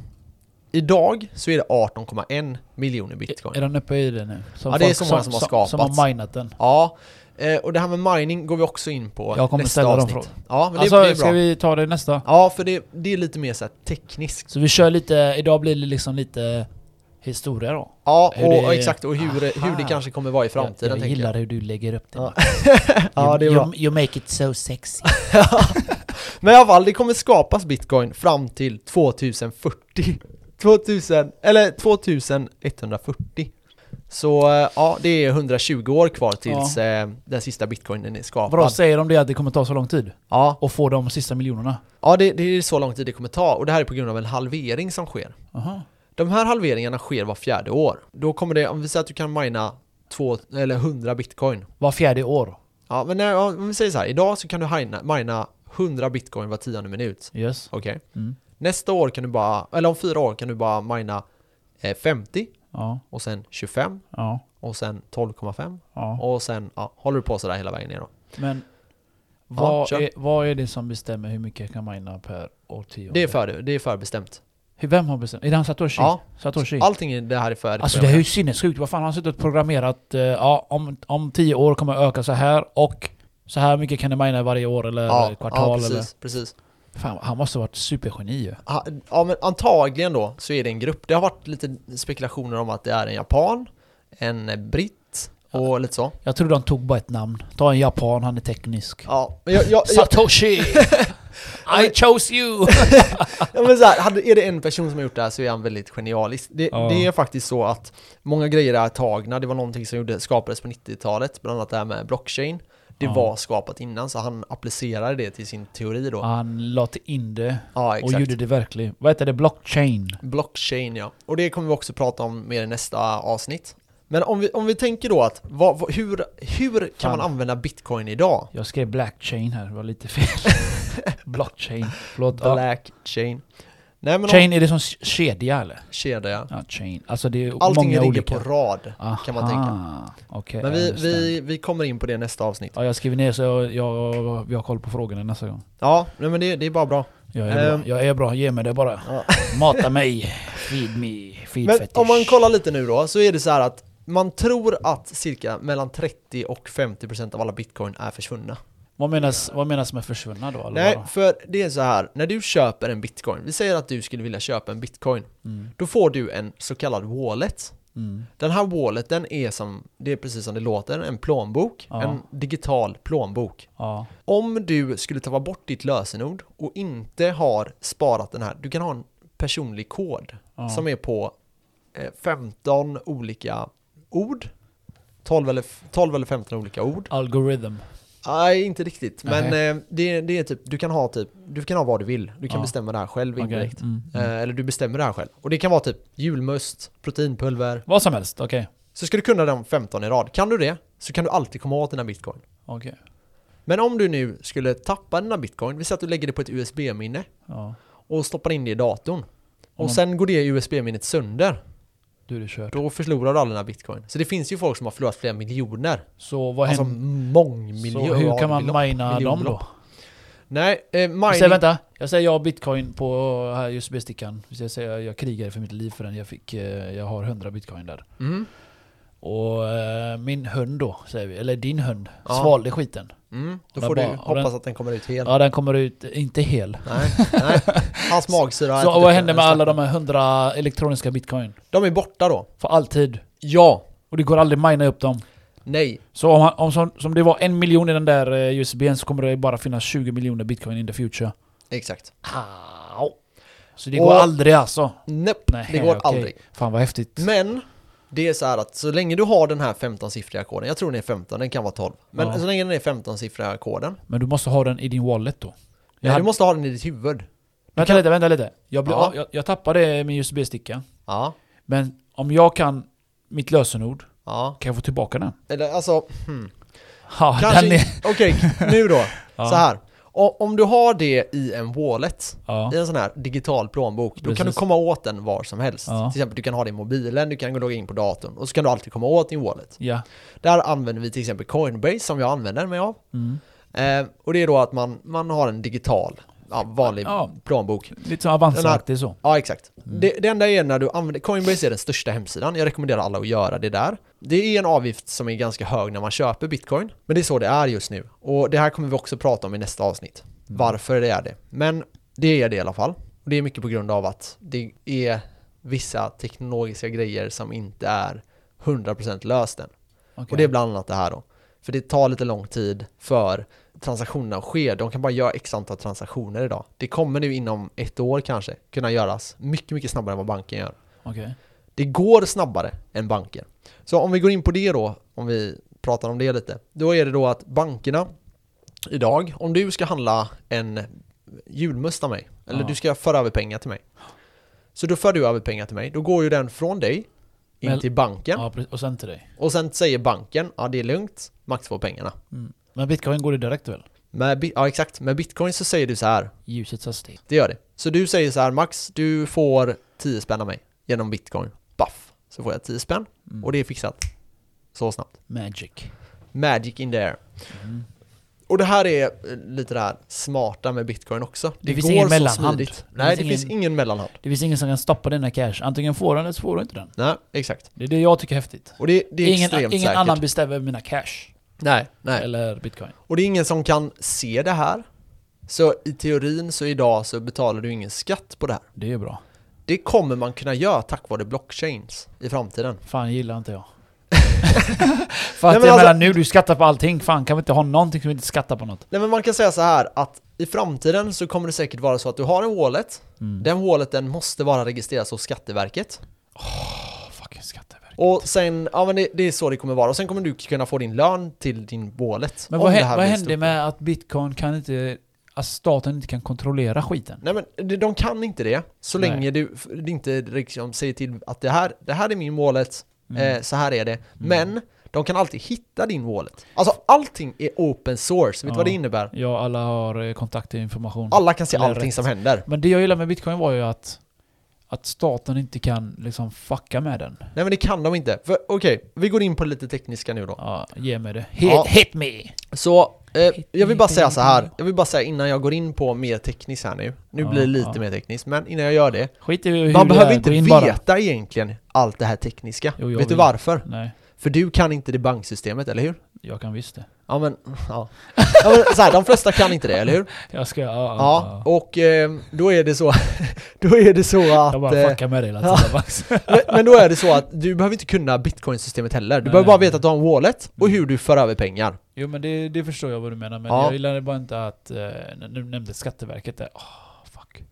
S1: Idag så är det 18,1 miljoner bitcoin.
S2: Är, är den uppe i det nu? Som
S1: Ja, det är
S2: folk
S1: så många som har
S2: Som
S1: skapats.
S2: har minat den.
S1: Ja, eh, och det här med mining går vi också in på
S2: Jag kommer
S1: nästa
S2: ställa de
S1: avsnitt.
S2: frågorna.
S1: Ja, men det,
S2: alltså,
S1: det är bra.
S2: ska vi ta det i nästa?
S1: Ja, för det, det är lite mer så här tekniskt.
S2: Så vi kör lite, idag blir det liksom lite historia då.
S1: Ja,
S2: Hur
S1: och,
S2: det-
S1: och exakt. Och hur, det- hur det
S2: Aha.
S1: kanske kommer vara i framtiden.
S2: jag jag
S1: tänker
S2: gillar hur du lägger upp det. [LAUGHS]
S1: Ja.
S2: Max.
S1: Ja, det är
S2: you,
S1: bra.
S2: you, you make it
S1: [LAUGHS]
S2: so sexy.
S1: Men i alla fall, det kommer skapas bitcoin fram till [LAUGHS] 2040. 2000, eller 2140. Så eh, ja, det är 120 år kvar tills
S2: Ja.
S1: eh, den sista bitcoinen är skapad.
S2: Vadå, säger de det att det kommer ta så lång tid?
S1: Ja,
S2: Och få de sista miljonerna?
S1: ja det, det är så lång tid det kommer ta. Och det här är på grund av en halvering som sker.
S2: Aha.
S1: De här halveringarna sker var fjärde år. Då kommer det, om vi säger att du kan mina två, eller 100 bitcoin.
S2: Var fjärde år?
S1: Ja, men när, om vi säger så här. Idag så kan du hina- mina 100 bitcoin var tionde minut.
S2: Yes.
S1: Okej.
S2: Mm.
S1: Nästa år kan du bara, eller om fyra år kan du bara mina eh, 50
S2: Ja,
S1: och sen 25
S2: ja,
S1: och sen 12,5
S2: ja.
S1: och sen ja, håller du på sådär hela vägen ner då.
S2: Men Vad,
S1: kör.
S2: är, vad är det som bestämmer hur mycket jag kan mina per årtionde?
S1: Det är, för, det är förbestämt.
S2: Hur- Vem har bestämt? Är det han Satoshi?
S1: Ja.
S2: Satoshi?
S1: Allting i det här är färdigt.
S2: Alltså det är ju sinnessjukt. Vad fan har han suttit och programmerat? eh, Ja, om, om tio år kommer jag öka så här och så här mycket kan det mina varje år eller
S1: ja, ja,
S2: kvartal
S1: precis,
S2: eller...
S1: precis.
S2: Fan, han måste ha varit supergeni ju.
S1: Ah, Ja, men antagligen då så är det en grupp. Det har varit lite spekulationer om att det är en japan, en britt och lite så.
S2: Jag tror de tog bara ett namn. Ta en japan, han är teknisk.
S1: Ja, men jag, jag, jag,
S2: Satoshi!
S1: [LAUGHS]
S2: I chose you!
S1: Ja, men så här, hade, är det en person som har gjort det här så är han väldigt genialisk. Det,
S2: Ja.
S1: det är faktiskt så att många grejer är tagna. Det var någonting som gjorde, skapades på 90-talet, bland annat det här med blockchain. Det
S2: Ja.
S1: var skapat innan, så han applicerade det till sin teori då. Ja,
S2: Han lade in det och
S1: exakt.
S2: gjorde det verkligt. Vad heter det? Blockchain?
S1: Blockchain, ja. Och det kommer vi också prata om mer i nästa avsnitt. Men om vi, om vi tänker då att, vad, vad, hur, hur kan
S2: Fan.
S1: man använda bitcoin idag?
S2: Jag skrev blackchain här, det var
S1: [LAUGHS]
S2: lite fel. Blockchain. Förlåt. Ja.
S1: Blackchain. Nej men
S2: Chain, är det som s- kedja eller?
S1: om kedja, ja.
S2: Ja, chain. Alltså det är
S1: Allting
S2: många
S1: ligger
S2: olika.
S1: på rad, kan man tänka.
S2: Aha, Okej,
S1: Men
S2: jag
S1: vi,
S2: understand.
S1: vi, vi kommer in på det i nästa avsnitt.
S2: Ja, jag skriver ner så jag, jag, vi har koll på frågorna nästa gång.
S1: Ja, nej, men det, det är bara bra.
S2: Jag är,
S1: Ehm.
S2: bra. jag är bra, ge mig det bara.
S1: Ja. [LAUGHS]
S2: Mata mig. Feed me. Feed
S1: Men
S2: fetish.
S1: om man kollar lite nu då, så är det så här att man tror att cirka mellan 30 och 50% av alla bitcoin är försvunna.
S2: Vad menas, vad menas med försvunna då? Eller
S1: Nej,
S2: vadå?
S1: för det är så här, när du köper en bitcoin, vi säger att du skulle vilja köpa en bitcoin,
S2: Mm,
S1: då får du en så kallad wallet.
S2: mm.
S1: Den här walleten är som, det är precis som det låter, en plånbok,
S2: Ja.
S1: en digital plånbok.
S2: Ja,
S1: Om du skulle ta bort ditt lösenord och inte har sparat den här, du kan ha en personlig kod
S2: ja.
S1: som är på eh, 15 olika ord. 12 eller, 12 eller 15 olika ord.
S2: Algorithm.
S1: Nej, inte riktigt. Men eh, det, det är typ, du kan ha typ, du kan ha vad du vill. Du kan
S2: Ja.
S1: bestämma det här själv
S2: Okej,
S1: indirekt.
S2: Mm.
S1: Eh, eller du bestämmer det här själv. Och det kan vara typ julmust, proteinpulver.
S2: Vad som helst, okej.
S1: Så ska du kunna de 15 i rad. Kan du det så kan du alltid komma åt dina bitcoin.
S2: Okej.
S1: Men om du nu skulle tappa dina bitcoin, vi säger att du lägger det på ett USB-minne
S2: Ja.
S1: och stoppar in det i datorn.
S2: Om
S1: Och
S2: de-
S1: sen går det USB-minnet sönder.
S2: Du, det är kört.
S1: Då förlorar du alla dina bitcoin. Så det finns ju folk som har förlorat flera miljoner.
S2: Så vad
S1: Alltså
S2: händer? så
S1: mångmiljoner.
S2: hur kan man
S1: belopp.
S2: mina dem då?
S1: Miljonbelopp. Nej, eh,
S2: Jag säger,
S1: mining...
S2: vänta, jag säger jag har bitcoin på här USB-stickan. Så Jag, säger, jag krigade för mitt liv för den. Jag, fick, eh, jag har 100 bitcoin där.
S1: Mm,
S2: Och eh, min hund då, säger vi, eller din hund,
S1: Ja.
S2: svalde skiten.
S1: mm. Då
S2: Den
S1: får du
S2: bara- och
S1: hoppas
S2: den-
S1: att den kommer ut hel.
S2: Ja, den kommer ut, eh, inte hel.
S1: Nej, nej.
S2: [LAUGHS]
S1: Hans magsyra... har
S2: Så
S1: ätit
S2: vad
S1: upp
S2: händer
S1: den.
S2: med alla de här 100 elektroniska bitcoin?
S1: De är borta då?
S2: För alltid.
S1: Ja.
S2: Och det går aldrig att mina upp dem.
S1: Nej.
S2: Så om, han- om som, som det var en miljon i den där eh, USBn så kommer det bara finnas 20 miljoner bitcoin in the future.
S1: Exakt.
S2: Au. Så det
S1: Och-
S2: går aldrig alltså.
S1: Nope,
S2: Nej,
S1: det går
S2: okej.
S1: aldrig.
S2: Fan vad häftigt.
S1: Men det är så här att så länge du har den här 15-siffriga koden, jag tror den är 15, den kan vara 12. Men
S2: Ja.
S1: så länge den är 15-siffriga koden,
S2: Men du måste ha den i din wallet då. Jag
S1: nej,
S2: hade-
S1: du måste ha den i ditt huvud.
S2: Vänta lite, vänta lite. Jag, blev,
S1: Ja.
S2: av- jag, jag tappade min USB-sticka.
S1: Ja,
S2: Men om jag kan mitt lösenord,
S1: ja.
S2: kan jag få tillbaka den?
S1: Eller alltså, hmm.
S2: Ja, den
S1: Kanske,
S2: är...
S1: okej, nu då.
S2: [LAUGHS] Ja.
S1: Så här. O- Om du har det i en wallet,
S2: Ja.
S1: i en sån här digital plånbok, då kan du
S2: Precis.
S1: komma åt den var som helst.
S2: Ja.
S1: Till exempel, du kan ha det i mobilen, du kan logga in på datorn och så kan du alltid komma åt din wallet.
S2: ja.
S1: Där använder vi till exempel Coinbase som jag använder mig av.
S2: Mm.
S1: Eh, och det är då att man, man har en digital, ja, vanlig
S2: Ja.
S1: plånbok.
S2: Lite som Avanza-aktigt så.
S1: Ja, exakt. Det, det enda är när du använder, Coinbase är den största hemsidan, jag rekommenderar alla att göra det där. Det är en avgift som är ganska hög när man köper bitcoin, men det är så det är just nu. Och det här kommer vi också prata om i nästa avsnitt, varför det är det. Men det är det i alla fall. Och det är mycket på grund av att det är vissa teknologiska grejer som inte är 100% löst än.
S2: Okej.
S1: Och det är bland annat det här då. För det tar lite lång tid för transaktionerna att ske. De kan bara göra x antal transaktioner idag. Det kommer nu inom ett år kanske kunna göras mycket, mycket snabbare än vad banken gör.
S2: Okej.
S1: Det går snabbare än banker. Så om vi går in på det då, om vi pratar om det lite. Då är det då att bankerna idag, om du ska handla en julmust av mig, eller
S2: Ja.
S1: du ska föra över pengar till mig. Så då för du över pengar till mig, då går ju den från dig in
S2: Men-
S1: till banken.
S2: Ja, precis. och sen till dig.
S1: Och sen säger banken, ja det är lugnt, Max får pengarna.
S2: Mm. Men bitcoin går det direkt väl?
S1: Med, bi- ja exakt, med bitcoin så säger du så här,
S2: Ljusets hastighet.
S1: det gör det. Så du säger så här, Max du får 10 spänn av mig genom bitcoin. Baff, så får jag 10 spänn
S2: Mm.
S1: och det är fixat. Så snabbt.
S2: Magic.
S1: Magic in there.
S2: Mm.
S1: Och det här är eh, lite det här smarta med bitcoin också. Det,
S2: finns ingen
S1: så
S2: mellanhand.
S1: smidigt.
S2: Det
S1: Nej,
S2: finns
S1: det finns
S2: ingen-
S1: ingen mellanhand.
S2: Det finns ingen som kan stoppa dina cash. Antingen får du den eller så får du inte den.
S1: Nej, exakt.
S2: Det är det jag tycker är häftigt.
S1: Och det, det är
S2: ingen
S1: extremt
S2: ingen
S1: säkert.
S2: annan bestämmer mina cash.
S1: Nej, nej.
S2: Eller bitcoin.
S1: Och det är ingen som kan se det här. Så i teorin så idag så betalar du ingen skatt på det här.
S2: Det är ju bra.
S1: Det kommer man kunna göra tack vare blockchains i framtiden.
S2: Fan gillar
S1: [LAUGHS]
S2: inte jag. För att
S1: men
S2: jag
S1: alltså-
S2: menar nu, du skattar på allting. Fan kan vi inte ha någonting som vi inte skattar på något?
S1: Nej men man kan säga så här att i framtiden så kommer det säkert vara så att du har en wallet.
S2: Mm.
S1: Den walleten måste bara registreras hos Skatteverket.
S2: Åh, fucking skatteverk.
S1: Och sen, ja men det, det är så det kommer vara. Och sen kommer du kunna få din lön till din wallet.
S2: Men
S1: om
S2: vad,
S1: det
S2: hä-
S1: här
S2: vad
S1: blir
S2: händer
S1: stort.
S2: med att bitcoin kan inte... Att staten inte kan kontrollera skiten?
S1: Nej men de- de kan inte det. Så
S2: Nej.
S1: länge du f- det inte liksom säger till att det här, det här är min wallet,
S2: Mm.
S1: eh, så här är det. Men de kan alltid hitta din wallet. Alltså allting är open source, vet du
S2: Ja.
S1: vad det innebär?
S2: Ja, alla har eh, kontaktinformation.
S1: Alla kan se
S2: Eller
S1: allting
S2: rätt.
S1: som händer.
S2: Men det jag gillar med bitcoin var ju att, att staten inte kan liksom fucka med den.
S1: Nej men det kan de inte. För okej, vi går in på lite tekniska nu då.
S2: Ja, ge mig det. Hit,
S1: Ja.
S2: hit me!
S1: Så eh, jag vill bara
S2: Hit-
S1: säga så här. Jag vill bara säga innan jag går in på mer tekniskt här nu. Nu
S2: Ja,
S1: blir det lite
S2: ja.
S1: mer tekniskt, men innan jag gör det.
S2: Skit i hur
S1: Man
S2: det
S1: behöver
S2: är,
S1: inte
S2: gå in
S1: veta
S2: bara.
S1: egentligen allt det här tekniska.
S2: Jo, jag
S1: Vet du
S2: vill.
S1: varför?
S2: Nej,
S1: För du kan inte det banksystemet, eller hur?
S2: jag kan visst det.
S1: Ja men, ja. ja men, så här, de flesta kan inte det, eller hur?
S2: Jag ska... Ja,
S1: Ja,
S2: ja.
S1: och eh, då är det så, [LAUGHS] då är det så
S2: Jag
S1: att,
S2: bara
S1: eh,
S2: fuckar med det hela
S1: [LAUGHS] ja.
S2: tiden Max.
S1: men- men då är det så att du behöver inte kunna bitcoinsystemet heller. Du
S2: Nej,
S1: behöver bara
S2: nej,
S1: veta att du har en wallet
S2: Mm.
S1: och hur du för över pengar.
S2: Jo men det, det förstår jag vad du menar, men
S1: Ja.
S2: jag gillade bara inte att... Eh, när du nämnde Skatteverket där. Åh,
S1: [LAUGHS]
S2: fuck.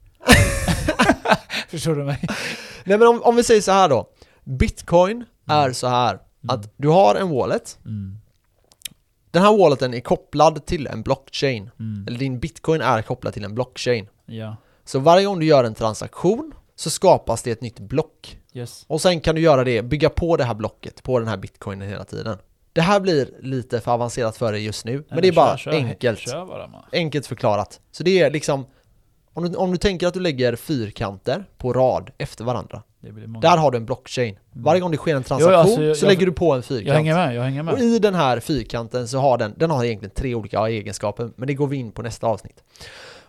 S2: förstår du mig?
S1: Nej men om, om vi säger så här då. Bitcoin är så här att du har en wallet.
S2: Mm.
S1: Den här walleten är kopplad till en blockchain.
S2: Mm.
S1: Eller din bitcoin är kopplad till en blockchain.
S2: Ja.
S1: Så varje gång du gör en transaktion så skapas det ett nytt block.
S2: Yes.
S1: Och sen kan du göra det, bygga på det här blocket, på den här bitcoinen hela tiden. Det här blir lite för avancerat för dig just nu, men det är bara enkelt.
S2: Kör bara man.
S1: Enkelt förklarat. Så det är liksom, om du, om du tänker att du lägger fyrkanter på rad efter varandra.
S2: Det blir många.
S1: Där har du en blockchain. Varje gång det sker en transaktion
S2: Mm. alltså, jag-
S1: så
S2: jag-
S1: lägger du på en fyrkant.
S2: jag hänger med, jag hänger
S1: Och
S2: med.
S1: i den här fyrkanten så har den, den har egentligen tre olika egenskaper, men det går vi in på nästa avsnitt.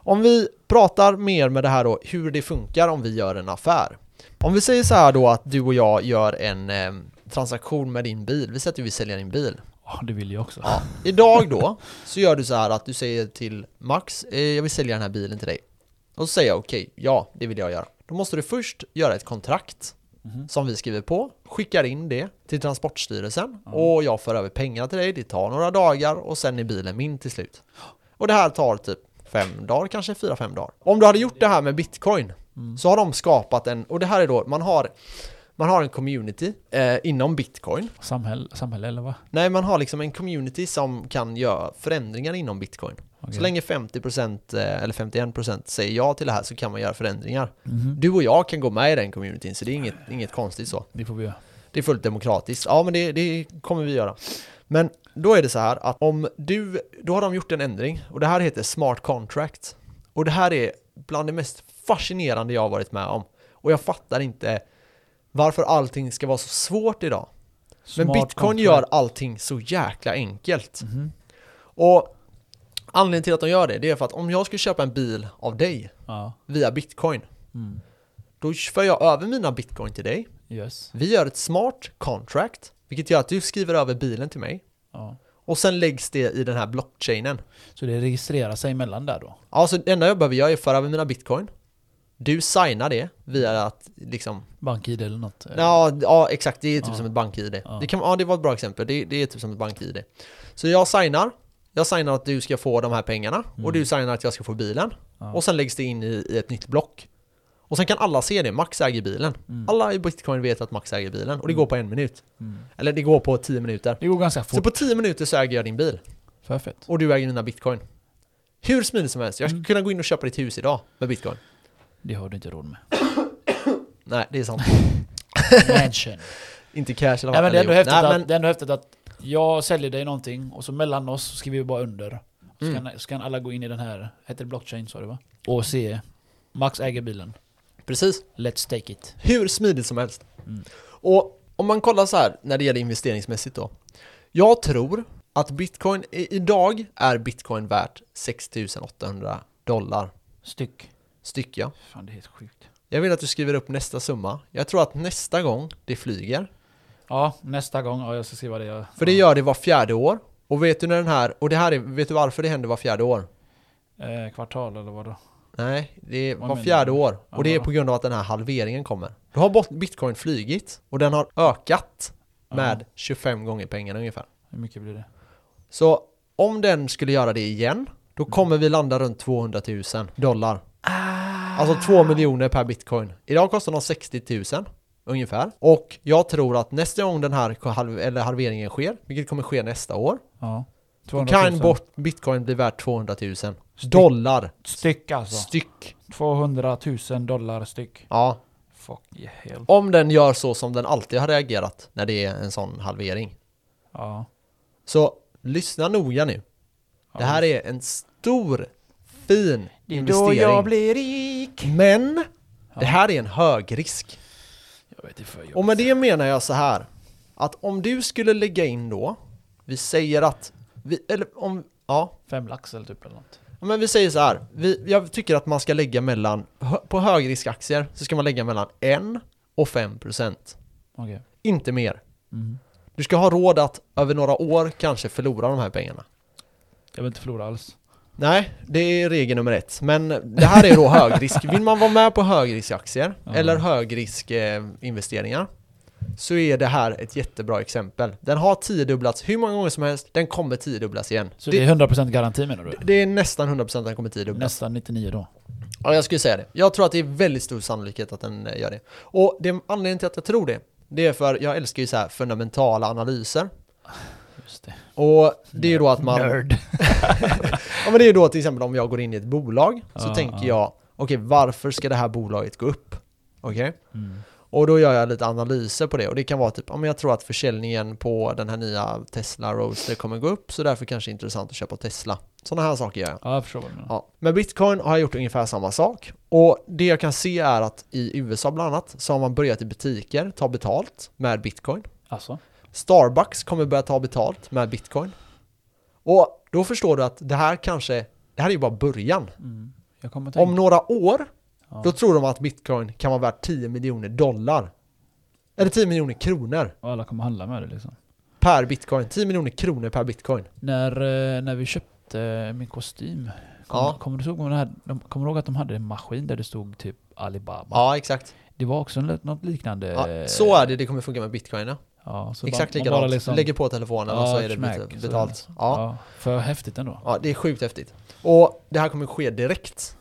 S1: Om vi pratar mer med det här då, hur det funkar om vi gör en affär. Om vi säger så här då att du och jag gör en eh, transaktion med din bil, vi säger att du vill sälja din bil.
S2: Ja, Ah, det vill jag också.
S1: Ja. Idag då, så gör du så här att du säger till Max, eh, jag vill sälja den här bilen till dig. Och så säger jag okej, ja det vill jag göra. Då måste du först göra ett kontrakt
S2: Mhm.
S1: som vi skriver på, skickar in det till Transportstyrelsen
S2: Ja.
S1: och jag för över pengar till dig, det tar några dagar och sen är bilen min till slut. Och det här tar typ fem dagar, kanske fyra, fem dagar. Om du hade gjort det här med bitcoin
S2: Mm.
S1: så har de skapat en, och det här är då, man har, man har en community eh, inom bitcoin
S2: Samhälle, samhälle eller vad?
S1: Nej, man har liksom en community som kan göra förändringar inom bitcoin.
S2: Okej.
S1: Så länge 50% eh, eller 51% säger ja till det här så kan man göra förändringar.
S2: Mhm.
S1: Du och jag kan gå med i den communityn så det är inget, inget konstigt så.
S2: Det får vi göra.
S1: Det är fullt demokratiskt. Ja, men det, det kommer vi göra. Men då är det så här att om du, då har de gjort en ändring och det här heter smart contract. Och det här är bland det mest fascinerande jag har varit med om. Och jag fattar inte varför allting ska vara så svårt idag. Men
S2: Smart
S1: bitcoin
S2: kontrakt.
S1: gör allting så jäkla enkelt.
S2: Mhm.
S1: Och anledningen till att de gör det, det är för att om jag skulle köpa en bil av dig
S2: Ja.
S1: via bitcoin,
S2: Mm.
S1: då för jag över mina bitcoin till dig.
S2: Yes.
S1: Vi gör ett smart contract, vilket gör att du skriver över bilen till mig.
S2: Ja.
S1: Och sen läggs det i den här blockchainen.
S2: Så det registrerar sig emellan där då?
S1: Alltså det enda jag behöver göra är att föra över mina bitcoin. Du signar det via att liksom...
S2: BankID eller något? eh,
S1: Ja, ja exakt, det är typ
S2: Ja.
S1: som ett bank-id.
S2: Ja.
S1: Det, kan, ja, det var ett bra exempel, det, det är typ som ett bank-id. Så jag signar, jag signar att du ska få de här pengarna och du signar att jag ska få bilen.
S2: Mm. Ja.
S1: Och sen läggs det in i, i ett nytt block. Och sen kan alla se det, Max äger bilen. Alla i bitcoin vet att Max äger bilen och det går på en minut.
S2: Mm.
S1: Eller det går på tio minuter.
S2: Det går ganska
S1: Så
S2: fort.
S1: på tio minuter så äger jag din bil
S2: För fett.
S1: och du äger mina bitcoin. Hur smidigt som helst, jag
S2: Mm.
S1: skulle kunna gå in och köpa ditt hus idag med bitcoin.
S2: Det har du
S1: [LAUGHS]
S2: inte råd med.
S1: Nej, det är sant.
S2: Mansion.
S1: Inte cash eller
S2: Nej, men det, är ändå häftigt
S1: Nej,
S2: att,
S1: men-
S2: det är ändå häftigt att jag säljer dig någonting och så mellan oss så skriver vi bara under. Så,
S1: Mm.
S2: kan, så kan alla gå in i den här, heter det blockchain sa du va? Och se, Max äger bilen.
S1: Precis.
S2: Let's take it.
S1: Hur smidigt som helst.
S2: Mm.
S1: Och om man kollar så här när det gäller investeringsmässigt då. Jag tror att bitcoin, i- idag är bitcoin värt 6800 dollar
S2: Styck.
S1: styck ja.
S2: Fan det är helt sjukt.
S1: Jag vill att du skriver upp nästa summa. Jag tror att nästa gång det flyger,
S2: Ja, nästa gång. Ja, jag ska skriva det. Jag,
S1: för det gör det var fjärde år. Och vet du när den här, och det här är, vet du varför det händer var fjärde år?
S2: eh, Kvartal eller vadå?
S1: Nej, det är var
S2: menar du?
S1: fjärde år.
S2: Ja,
S1: Och det är
S2: bra.
S1: på grund av att den här halveringen kommer. Då har bot- bitcoin flygit och den har ökat med 25 gånger pengarna ungefär.
S2: Hur mycket blir det?
S1: Så om den skulle göra det igen, då kommer vi landa runt 200 000 dollar.
S2: Ah.
S1: Alltså 2 miljoner per bitcoin. Idag kostar de 60 000 ungefär. Och jag tror att nästa gång den här halv- eller halveringen sker, vilket kommer ske nästa år,
S2: Ja.
S1: då
S2: 200 000.
S1: kan bort bitcoin bli värt 200 000 dollar
S2: Styck alltså.
S1: styck.
S2: 200 000 dollar styck.
S1: Ja,
S2: Fuck yeah. hell.
S1: om den gör så som den alltid har reagerat när det är en sån halvering.
S2: Ja.
S1: Så lyssna noga nu. Det här är en stor, fin
S2: Det är
S1: investering.
S2: då jag blir rik.
S1: Men det här är en hög risk.
S2: Jag vet inte för jag.
S1: Och med det menar jag så här. Att om du skulle lägga in då, vi säger att, vi, eller om, ja,
S2: Fem lax eller typ eller något.
S1: Ja, men vi säger så här. Vi, jag tycker att man ska lägga mellan, hö- på högriskaktier så ska man lägga mellan 1 och 5 procent.
S2: Okej.
S1: Inte mer.
S2: Mm.
S1: Du ska ha råd att över några år kanske förlora de här pengarna.
S2: Jag vill inte förlora alls.
S1: Nej, det är regel nummer ett. Men det här
S2: [LAUGHS]
S1: är då högrisk. Vill man vara med på högriskaktier
S2: Ja.
S1: eller högriskinvesteringar så är det här ett jättebra exempel. Den har tiodubblats hur många gånger som helst, den kommer tiodubblas igen.
S2: Så
S1: det,
S2: det är 100% garanti menar du?
S1: det är nästan 100% att den kommer tiodubblas.
S2: Nästan 99 då.
S1: Ja, jag skulle säga det. Jag tror att det är väldigt stor sannolikhet att den eh, gör det. Och det, anledningen till att jag tror det, det är för jag älskar ju så här fundamentala analyser.
S2: Just det.
S1: Och det är ju då att man...
S2: Nerd.
S1: Ja men det är ju då till exempel om jag går in i ett bolag så
S2: Ja,
S1: tänker
S2: ja.
S1: jag okej varför ska det här bolaget gå upp? Okej?
S2: Mm.
S1: Och då gör jag lite analyser på det och det kan vara typ, ja men jag tror att försäljningen på den här nya Tesla Roadster kommer gå upp så därför kanske det är intressant att köpa Tesla. Sådana här saker gör jag.
S2: Ja, jag förstår vad du menar.
S1: Ja. Med bitcoin har jag gjort ungefär samma sak och det jag kan se är att i USA bland annat så har man börjat i butiker ta betalt med bitcoin.
S2: Alltså?
S1: Starbucks kommer börja ta betalt med bitcoin. Och då förstår du att det här kanske, det här är ju bara början.
S2: Mm. Jag kommer tänka.
S1: Om några år,
S2: Ja.
S1: då tror de att bitcoin kan vara värt 10 miljoner dollar. Eller 10 miljoner kronor
S2: Och alla kommer handla med det liksom.
S1: per bitcoin. 10 miljoner kronor per bitcoin.
S2: När, eh, när vi köpte eh, min kostym. Kommer,
S1: Ja.
S2: kommer du ihåg, om den här, de, kommer du ihåg att de hade en maskin där det stod typ Alibaba?
S1: Ja, exakt.
S2: Det var också en- något liknande.
S1: Ja, så är det det kommer funka med bitcoin. Ja.
S2: Ja, så
S1: Exakt
S2: man- man bara
S1: likadant.
S2: liksom-
S1: Lägger på telefonen och
S2: Ja,
S1: så är det
S2: smack,
S1: bet-
S2: så är
S1: betalt. Ja.
S2: ja, för häftigt ändå.
S1: ja, det är sjukt häftigt. Och det här kommer ske direkt.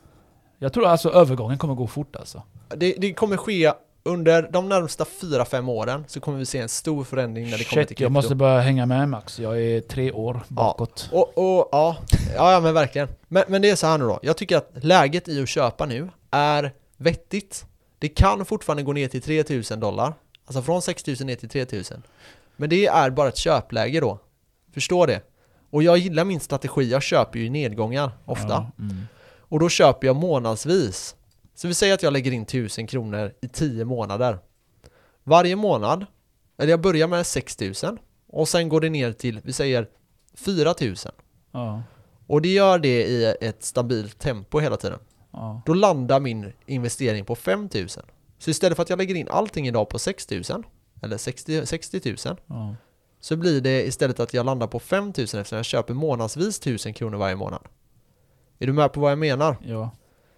S2: Jag tror alltså övergången kommer gå fort alltså.
S1: Det, det kommer ske under de närmsta 4-5 åren så kommer vi se en stor förändring när det kommer till
S2: Shit,
S1: krypto.
S2: jag måste börja hänga med Max. Jag är tre år bakåt.
S1: Och, och ja, ja, ja men verkligen. Men, men det är så här nu då. Jag tycker att läget i att köpa nu är vettigt. Det kan fortfarande gå ner till 3000 dollar. Alltså från 6000 ner till 3000. Men det är bara ett köpläge då. Förstår det? Och jag gillar min strategi. Jag köper ju i nedgångar ofta.
S2: Ja, mm.
S1: Och då köper jag månadsvis. Så vi säger att jag lägger in 1000 kronor i 10 månader. Varje månad, eller jag börjar med 6000 och sen går det ner till, vi säger 4000.
S2: ja,
S1: Och det gör det i ett stabilt tempo hela tiden.
S2: ja.
S1: Då landar min investering på 5000. Så istället för att jag lägger in allting idag på 6000 eller 60, 60 000
S2: ja.
S1: så blir det istället att jag landar på 5000 eftersom jag köper månadsvis 1000 kronor varje månad. Är du med på vad jag menar?
S2: ja.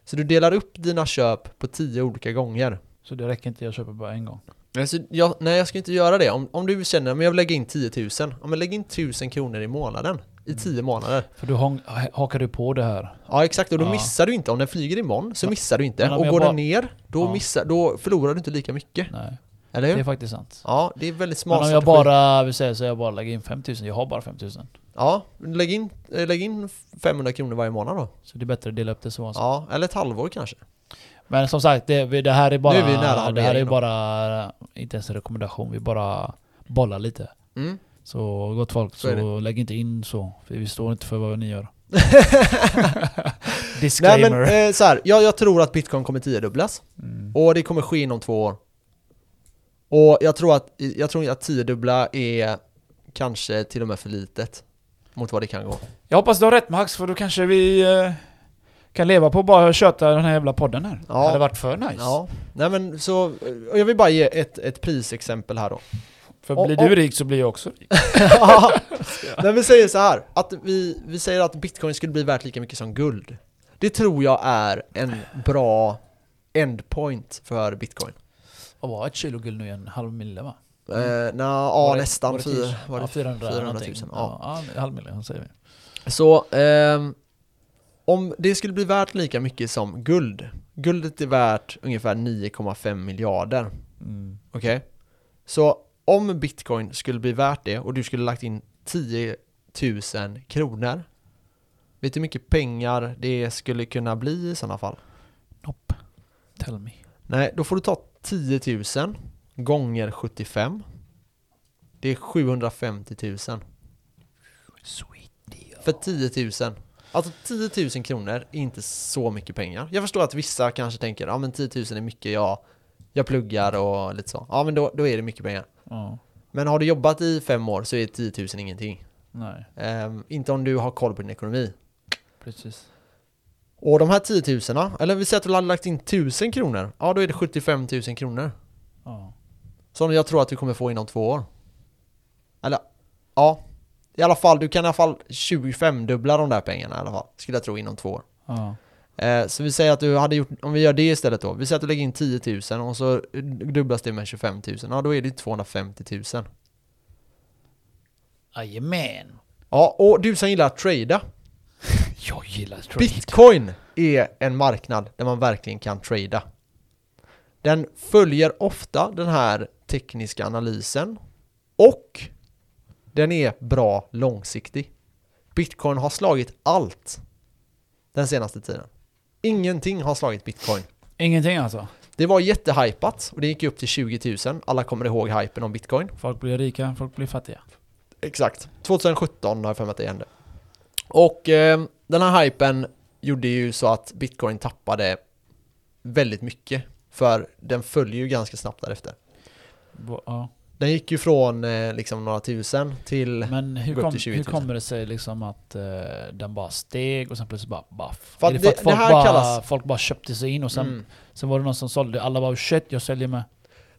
S1: Så du delar upp dina köp på tio olika gånger.
S2: Så det räcker inte, jag köper bara en gång.
S1: Alltså, jag, nej, jag ska inte göra det. Om, om du känner att jag vill lägga in 10 000, ja, men lägg in 1000 kronor i månaden. I
S2: Mm.
S1: 10 månader.
S2: För du hång- ha- hakar du på det här.
S1: Ja exakt, och då
S2: Ja.
S1: missar du inte. Om den flyger imorgon så
S2: Men-
S1: missar du inte.
S2: men om
S1: Och
S2: jag
S1: går
S2: bara-
S1: den ner, då,
S2: Ja.
S1: missar, då förlorar du inte lika mycket.
S2: Nej,
S1: Eller
S2: det är
S1: hur?
S2: faktiskt sant.
S1: Ja, det är väldigt
S2: Men
S1: smart
S2: om jag
S1: strategi.
S2: bara, vi säger så, jag bara lägger in 5000. Jag har bara 5000.
S1: Ja, lägg in, eh, lägg in 500 kronor varje månad då.
S2: Så det är bättre att dela upp det så. Alltså.
S1: Ja, eller ett halvår kanske.
S2: Men som sagt, det, vi- det här är bara...
S1: Nu är vi nära
S2: det här är
S1: halveringen då.
S2: bara... Inte ens en rekommendation, vi bara bollar lite.
S1: Mm.
S2: Så gott folk,
S1: Så
S2: så,
S1: är
S2: lägg inte in så. För vi står inte för vad
S1: [LAUGHS]
S2: ni gör. [LAUGHS]
S1: Nej
S2: Disclaimer.
S1: men eh, så här, jag, jag tror att bitcoin kommer tiodubblas.
S2: mm.
S1: Och det kommer ske inom två år. Och jag tror att, jag tror att tiodubbla är kanske till och med för litet. mot vad det kan gå.
S2: Jag hoppas du har rätt Max, för då kanske vi eh, kan leva på att bara köta den här jävla podden här.
S1: Ja.
S2: Det hade varit för nice.
S1: Ja, nej men så, och jag vill bara ge ett, ett prisexempel
S2: [LAUGHS]
S1: här då. [LAUGHS]
S2: För
S1: Och-
S2: blir
S1: och-
S2: du rik så blir jag också rik.
S1: Ja. Men vi säger så här, att vi, vi säger att bitcoin skulle bli värt lika mycket som guld. Det tror jag är en bra endpoint för bitcoin.
S2: Och vad ett kilo guld nu igen? En halv mille va?
S1: Eh, na,
S2: Mm. Var
S1: ja,
S2: det-
S1: nästan
S2: var det
S1: fyra,
S2: 10?
S1: var det
S2: ja, 400,
S1: 400
S2: någonting.
S1: 000, ja.
S2: Ja. ja, en halv mille säger vi.
S1: Så ehm, om det skulle bli värt lika mycket som guld. Guldet är värt ungefär 9,5 miljarder.
S2: Mm.
S1: Okej? Så om bitcoin skulle bli värt det och du skulle lagt in 10 000 kronor. Vet du hur mycket pengar det skulle kunna bli i sådana fall?
S2: Nope. Tell me.
S1: Nej, då får du ta 10 000 gånger 75. Det är 750 000.
S2: Sweet deal.
S1: För 10 000. Alltså 10 000 kronor är inte så mycket pengar. Jag förstår att vissa kanske tänker, ja men 10 000 är mycket, jag, jag pluggar och lite så. Ja men då, då är det mycket pengar.
S2: Ja.
S1: Men har du jobbat i fem år så är 10 000 ingenting.
S2: Nej,
S1: Ehm, inte om du har koll på din ekonomi.
S2: precis.
S1: Och de här 10 000, eller vi säger att du har lagt in 1000 kronor. Ja då är det 75 000 kronor.
S2: Ja.
S1: Som jag tror att du kommer få inom två år. Eller, ja. I alla fall, du kan i alla fall 25-dubbla de där pengarna i alla fall. Skulle jag tro inom två år.
S2: Ja.
S1: Eh, så vi säger att du hade gjort, om vi gör det istället då. Vi säger att du lägger in 10 000 och så dubblas det med 25 000. Ja, då är det 250 000.
S2: Jajamän.
S1: Ja, och du som gillar att trada.
S2: Jag gillar trade.
S1: Bitcoin är en marknad där man verkligen kan trada. Den följer ofta den här tekniska analysen och den är bra långsiktig. Bitcoin har slagit allt den senaste tiden. Ingenting har slagit bitcoin.
S2: Ingenting alltså.
S1: Det var jättehypat och det gick upp till 20 000. Alla kommer ihåg hypen om bitcoin.
S2: Folk blir rika, folk blir fattiga.
S1: Exakt. 2017 har jag för mig att det hände. Och eh, den här hypen gjorde ju så att bitcoin tappade väldigt mycket. För den följer ju ganska snabbt därefter.
S2: Bo- Ja.
S1: Den gick ju från eh, liksom några tusen till...
S2: Men hur,
S1: Gå upp
S2: kom,
S1: till 20
S2: hur
S1: 000.
S2: kommer det sig liksom att eh, den bara steg och sen plötsligt bara baff?
S1: För
S2: är det
S1: att
S2: för
S1: det-
S2: att folk,
S1: det här
S2: bara,
S1: kallas-
S2: folk bara köpte sig in och sen,
S1: Mm.
S2: sen var det någon som sålde? Alla bara "Oh, shit, jag säljer med.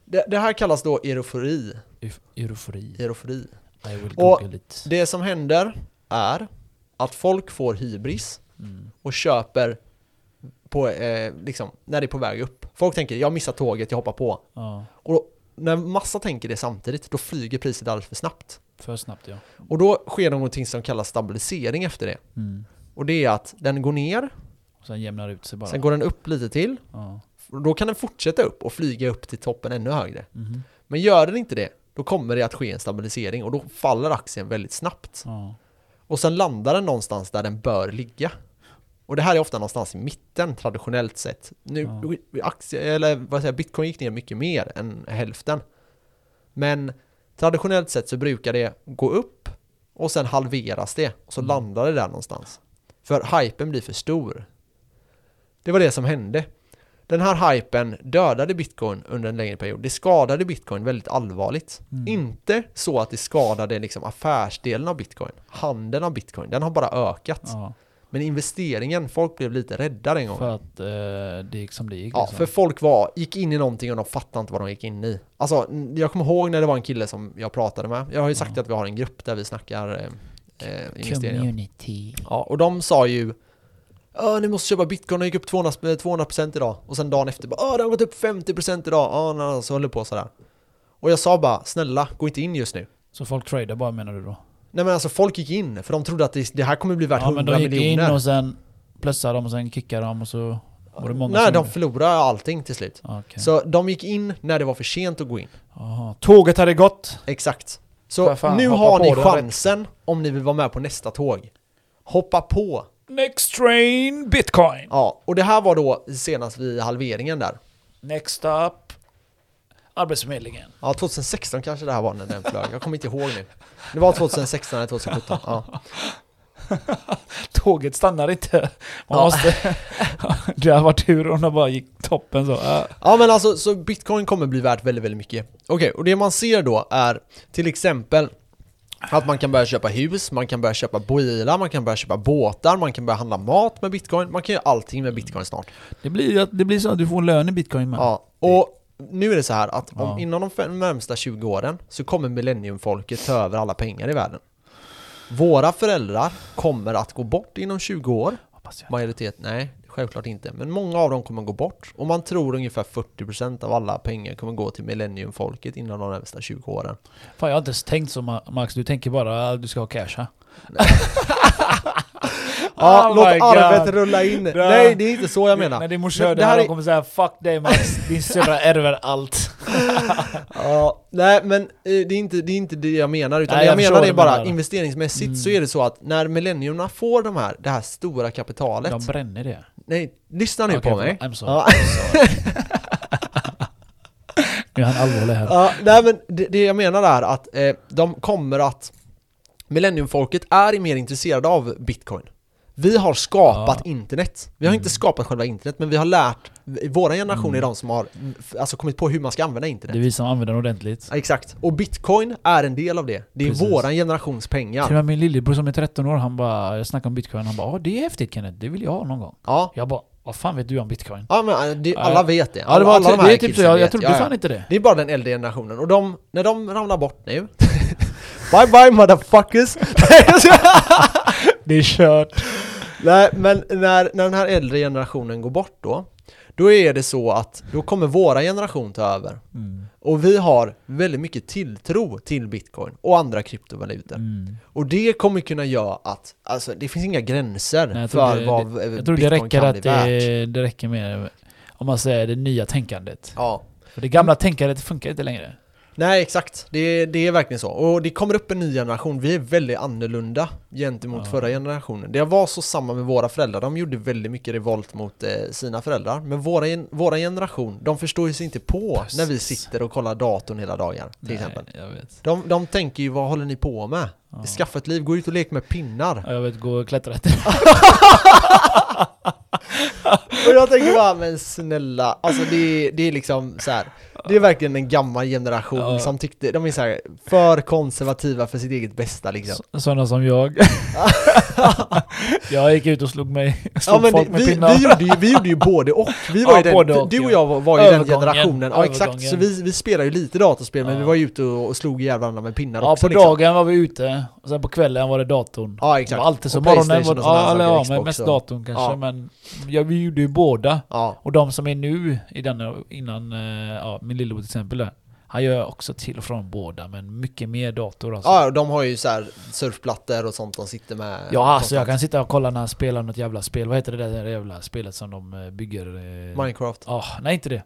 S1: det, det här kallas då erofori.
S2: Euf- Eufori.
S1: erofori.
S2: I will
S1: Och-
S2: google it.
S1: Det som händer är att folk får hybris
S2: Mm.
S1: och köper på, eh, liksom, när det är på väg upp. Folk tänker jag missar tåget, jag hoppar på.
S2: Ja,
S1: Och när massa tänker det samtidigt, då flyger priset alldeles för snabbt.
S2: för snabbt ja.
S1: Och då sker någonting som kallas stabilisering efter det.
S2: Mm.
S1: Och det är att den går ner,
S2: Och sen jämnar det ut sig bara.
S1: sen går den upp lite till.
S2: ja.
S1: Och då kan den fortsätta upp och flyga upp till toppen ännu högre.
S2: Mhm.
S1: Men gör den inte det, då kommer det att ske en stabilisering och då faller aktien väldigt snabbt.
S2: ja.
S1: Och sen landar den någonstans där den bör ligga. Och det här är ofta någonstans i mitten traditionellt sett. Nu, aktie, eller vad säger, jag, bitcoin gick ner mycket mer än hälften. Men traditionellt sett så brukar det gå upp och sen halveras det. Och så
S2: Mm.
S1: landar det där någonstans. För hypen blir för stor. Det var det som hände. Den här hypen dödade bitcoin under en längre period. Det skadade bitcoin väldigt allvarligt.
S2: Mm.
S1: Inte så att det skadade liksom affärsdelen av bitcoin. Handeln av bitcoin, den har bara ökat.
S2: ja.
S1: Men investeringen, folk blev lite rädda den gången.
S2: För att eh, det gick som det gick.
S1: Ja,
S2: liksom.
S1: för folk var, gick in i någonting och de fattade inte vad de gick in i. Alltså, n- jag kommer ihåg när det var en kille som jag pratade med. Jag har ju sagt
S2: Ja.
S1: att vi har en grupp där vi snackar eh, eh, investeringar.
S2: Community.
S1: Ja, och de sa ju "Ja, ni måste köpa bitcoin, den gick upp 200, eh, 200% idag. Och sen dagen efter bara "Ja, den har gått upp 50% idag. Ja, nej, nej, så höll det på sådär. Och jag sa bara snälla, gå inte in just nu.
S2: Så folk tradar bara menar du då?
S1: Nej men alltså folk gick in för de trodde att det, det här kommer bli värt
S2: Ja men
S1: 100
S2: de gick
S1: miljoner.
S2: in och sen plussade de och sen kickade de och så var det många
S1: Nej,
S2: som...
S1: de förlorade allting till slut.
S2: Ah, okej.
S1: Så de gick in när det var för sent att gå in.
S2: Aha. Tåget hade gått!
S1: Exakt.
S2: För
S1: Så
S2: fan,
S1: nu
S2: hoppa
S1: har
S2: på
S1: ni
S2: det.
S1: chansen om ni vill vara med på nästa tåg. Hoppa på!
S2: Next train bitcoin!
S1: Ja, och det här var då senast vid halveringen där.
S2: Next up
S1: [LAUGHS]
S2: Arbetsförmedlingen.
S1: Ja, 2016 kanske det här var när den flög. Jag kommer inte ihåg nu. Det var 2016 eller 2017. Ja.
S2: Tåget stannar inte. [LAUGHS] Man
S1: Ja.
S2: måste... [LAUGHS] det hade varit tur om de bara gick toppen så. Ah.
S1: ja, men alltså så bitcoin kommer bli värt väldigt, väldigt mycket. Okej, och det man ser då är till exempel Att man kan börja köpa hus, man kan börja köpa bilar, man kan börja köpa båtar, man kan börja handla mat med bitcoin. Man kan göra allting med bitcoin snart.
S2: Det blir, ju att- det blir så att du får en lön i bitcoin med.
S1: Ja, och nu är det så här att om,
S2: Ja.
S1: inom de fem närmsta 20 åren så kommer millenniumfolket ta över alla pengar i världen. Våra föräldrar kommer att gå bort inom 20 år.
S2: Hoppas jag.
S1: Majoritet, nej, självklart inte. Men många av dem kommer gå bort. Och man tror ungefär 40% av alla pengar kommer gå till millenniumfolket inom de närmsta 20 åren.
S2: Fan jag har inte ens tänkt så Ma- Max, du tänker bara att du ska ha cash här.
S1: [LAUGHS] Ja,
S2: Oh
S1: låt
S2: my God.
S1: arvet rulla in! Nej, det är inte så jag menar.
S2: När din morsa
S1: Men
S2: hör det
S1: det här
S2: här,
S1: är-
S2: hon kommer säga 'Fuck
S1: [LAUGHS]
S2: dig Max, din syrra ärver allt'
S1: Ja, nej men eh, det är inte det, är inte det jag menar utan det
S2: Nej,
S1: jag,
S2: jag förstår
S1: menar
S2: vad
S1: är
S2: du
S1: bara
S2: menar.
S1: investeringsmässigt
S2: Mm.
S1: så är det så att när millenniumna får de här, det här stora kapitalet
S2: De bränner det.
S1: Nej, lyssna nu
S2: Okej,
S1: på
S2: förlåt.
S1: mig
S2: I'm sorry.
S1: ja,
S2: Nu är han allvarlig här.
S1: ja, Nej men det, det jag menar är att eh, de kommer att Millenniumfolket är mer intresserade av bitcoin Vi har skapat internet Vi
S2: Mm.
S1: har inte skapat själva internet men vi har lärt Våra generation är de som har mm, f- alltså, kommit på hur man ska använda internet
S2: Det är vi som använder den ordentligt.
S1: Ja, Exakt, och bitcoin är en del av det Det är
S2: Precis.
S1: våran generations pengar
S2: Till och med min lillebror som är 13 år, han bara, jag snackade om bitcoin, han bara "Ja, det är häftigt Kenneth, det vill jag ha någon gång.
S1: Ja,
S2: Jag bara, vad fan vet du om bitcoin?
S1: ja men eh, det,
S2: Ja.
S1: alla vet det.
S2: Ja, det, var,
S1: alla, alla
S2: det är typ så,
S1: kidsen
S2: jag, jag
S1: vet.
S2: trodde
S1: Ja, ja.
S2: fan inte det.
S1: Det är bara den äldre generationen och de, när de ramlar bort nu [LAUGHS] Bye bye motherfuckers!
S2: Det är kört.
S1: Nej men när, när den här äldre generationen går bort då Då är det så att då kommer våra generation ta över
S2: Mm.
S1: Och vi har väldigt mycket tilltro till bitcoin och andra kryptovalutor
S2: Mm.
S1: Och det kommer kunna göra att, alltså det finns inga gränser
S2: Nej, jag tror
S1: för
S2: det-
S1: vad eh,
S2: Jag tror
S1: bitcoin
S2: det räcker
S1: kan bli
S2: att
S1: värt
S2: det, det räcker med, om man säger det nya tänkandet.
S1: Ja,
S2: För det
S1: Mm.
S2: gamla tänkandet funkar inte längre.
S1: Nej, exakt. Det, det är verkligen så. Och det kommer upp en ny generation. Vi är väldigt annorlunda gentemot
S2: Ja.
S1: förra generationen. Det var så samma med våra föräldrar. De gjorde väldigt mycket revolt mot eh, sina föräldrar. Men våra, gen- våra generation, de förstår ju sig inte på
S2: Precis.
S1: när vi sitter och kollar datorn hela dagen, till
S2: Nej,
S1: exempel.
S2: Jag vet.
S1: De, de tänker ju, vad håller ni på med?
S2: Ja.
S1: Skaffa ett liv, gå ut och lek med pinnar.
S2: [LAUGHS] Ja, jag vet, gå och klättra efter.
S1: Och jag tänker bara, men snälla, alltså det, är- det är liksom så här. Det är verkligen en gammal generation
S2: Ja.
S1: som tyckte, de är så här, för konservativa för sitt eget bästa liksom.
S2: Så- Sådana
S1: [LAUGHS]
S2: som jag. jag gick ut och slog mig. Slog
S1: Ja, men
S2: folk
S1: det,
S2: med
S1: vi,
S2: pinnar.
S1: vi, gjorde ju, vi gjorde ju både och. Vi var
S2: [LAUGHS] Ja,
S1: ju den,
S2: både och,
S1: du och
S2: ja.
S1: jag var, var ju den
S2: Övergången,
S1: generationen. Ja, exakt.
S2: övergången.
S1: Så vi, vi spelade ju lite datorspel, men
S2: Ja.
S1: vi var ju ute och, och slog ihjäl varandra med pinnar
S2: ja,
S1: också. liksom.
S2: på dagen var vi ute. Och sen på kvällen var det datorn.
S1: Ja,
S2: Det
S1: exakt.
S2: var alltid så.
S1: Och
S2: Morgonen var
S1: PlayStation
S2: det,
S1: och sådana
S2: ja, eller,
S1: saker,
S2: ja, men
S1: Xbox
S2: mest
S1: och-
S2: datorn kanske.
S1: ja.
S2: Men ja, vi gjorde ju båda.
S1: Ja,
S2: Och de som är nu, i den, innan eh, ja, min lillebror till exempel där. Han gör också till och från båda, men mycket mer dator alltså.
S1: ja och de har ju så här surfplattor och sånt de sitter med.
S2: Ja, alltså jag
S1: konstant.
S2: kan sitta och kolla när han spelar något jävla spel. Vad heter det där jävla spelet som de eh, bygger? eh,
S1: Minecraft,
S2: Ja, nej inte det.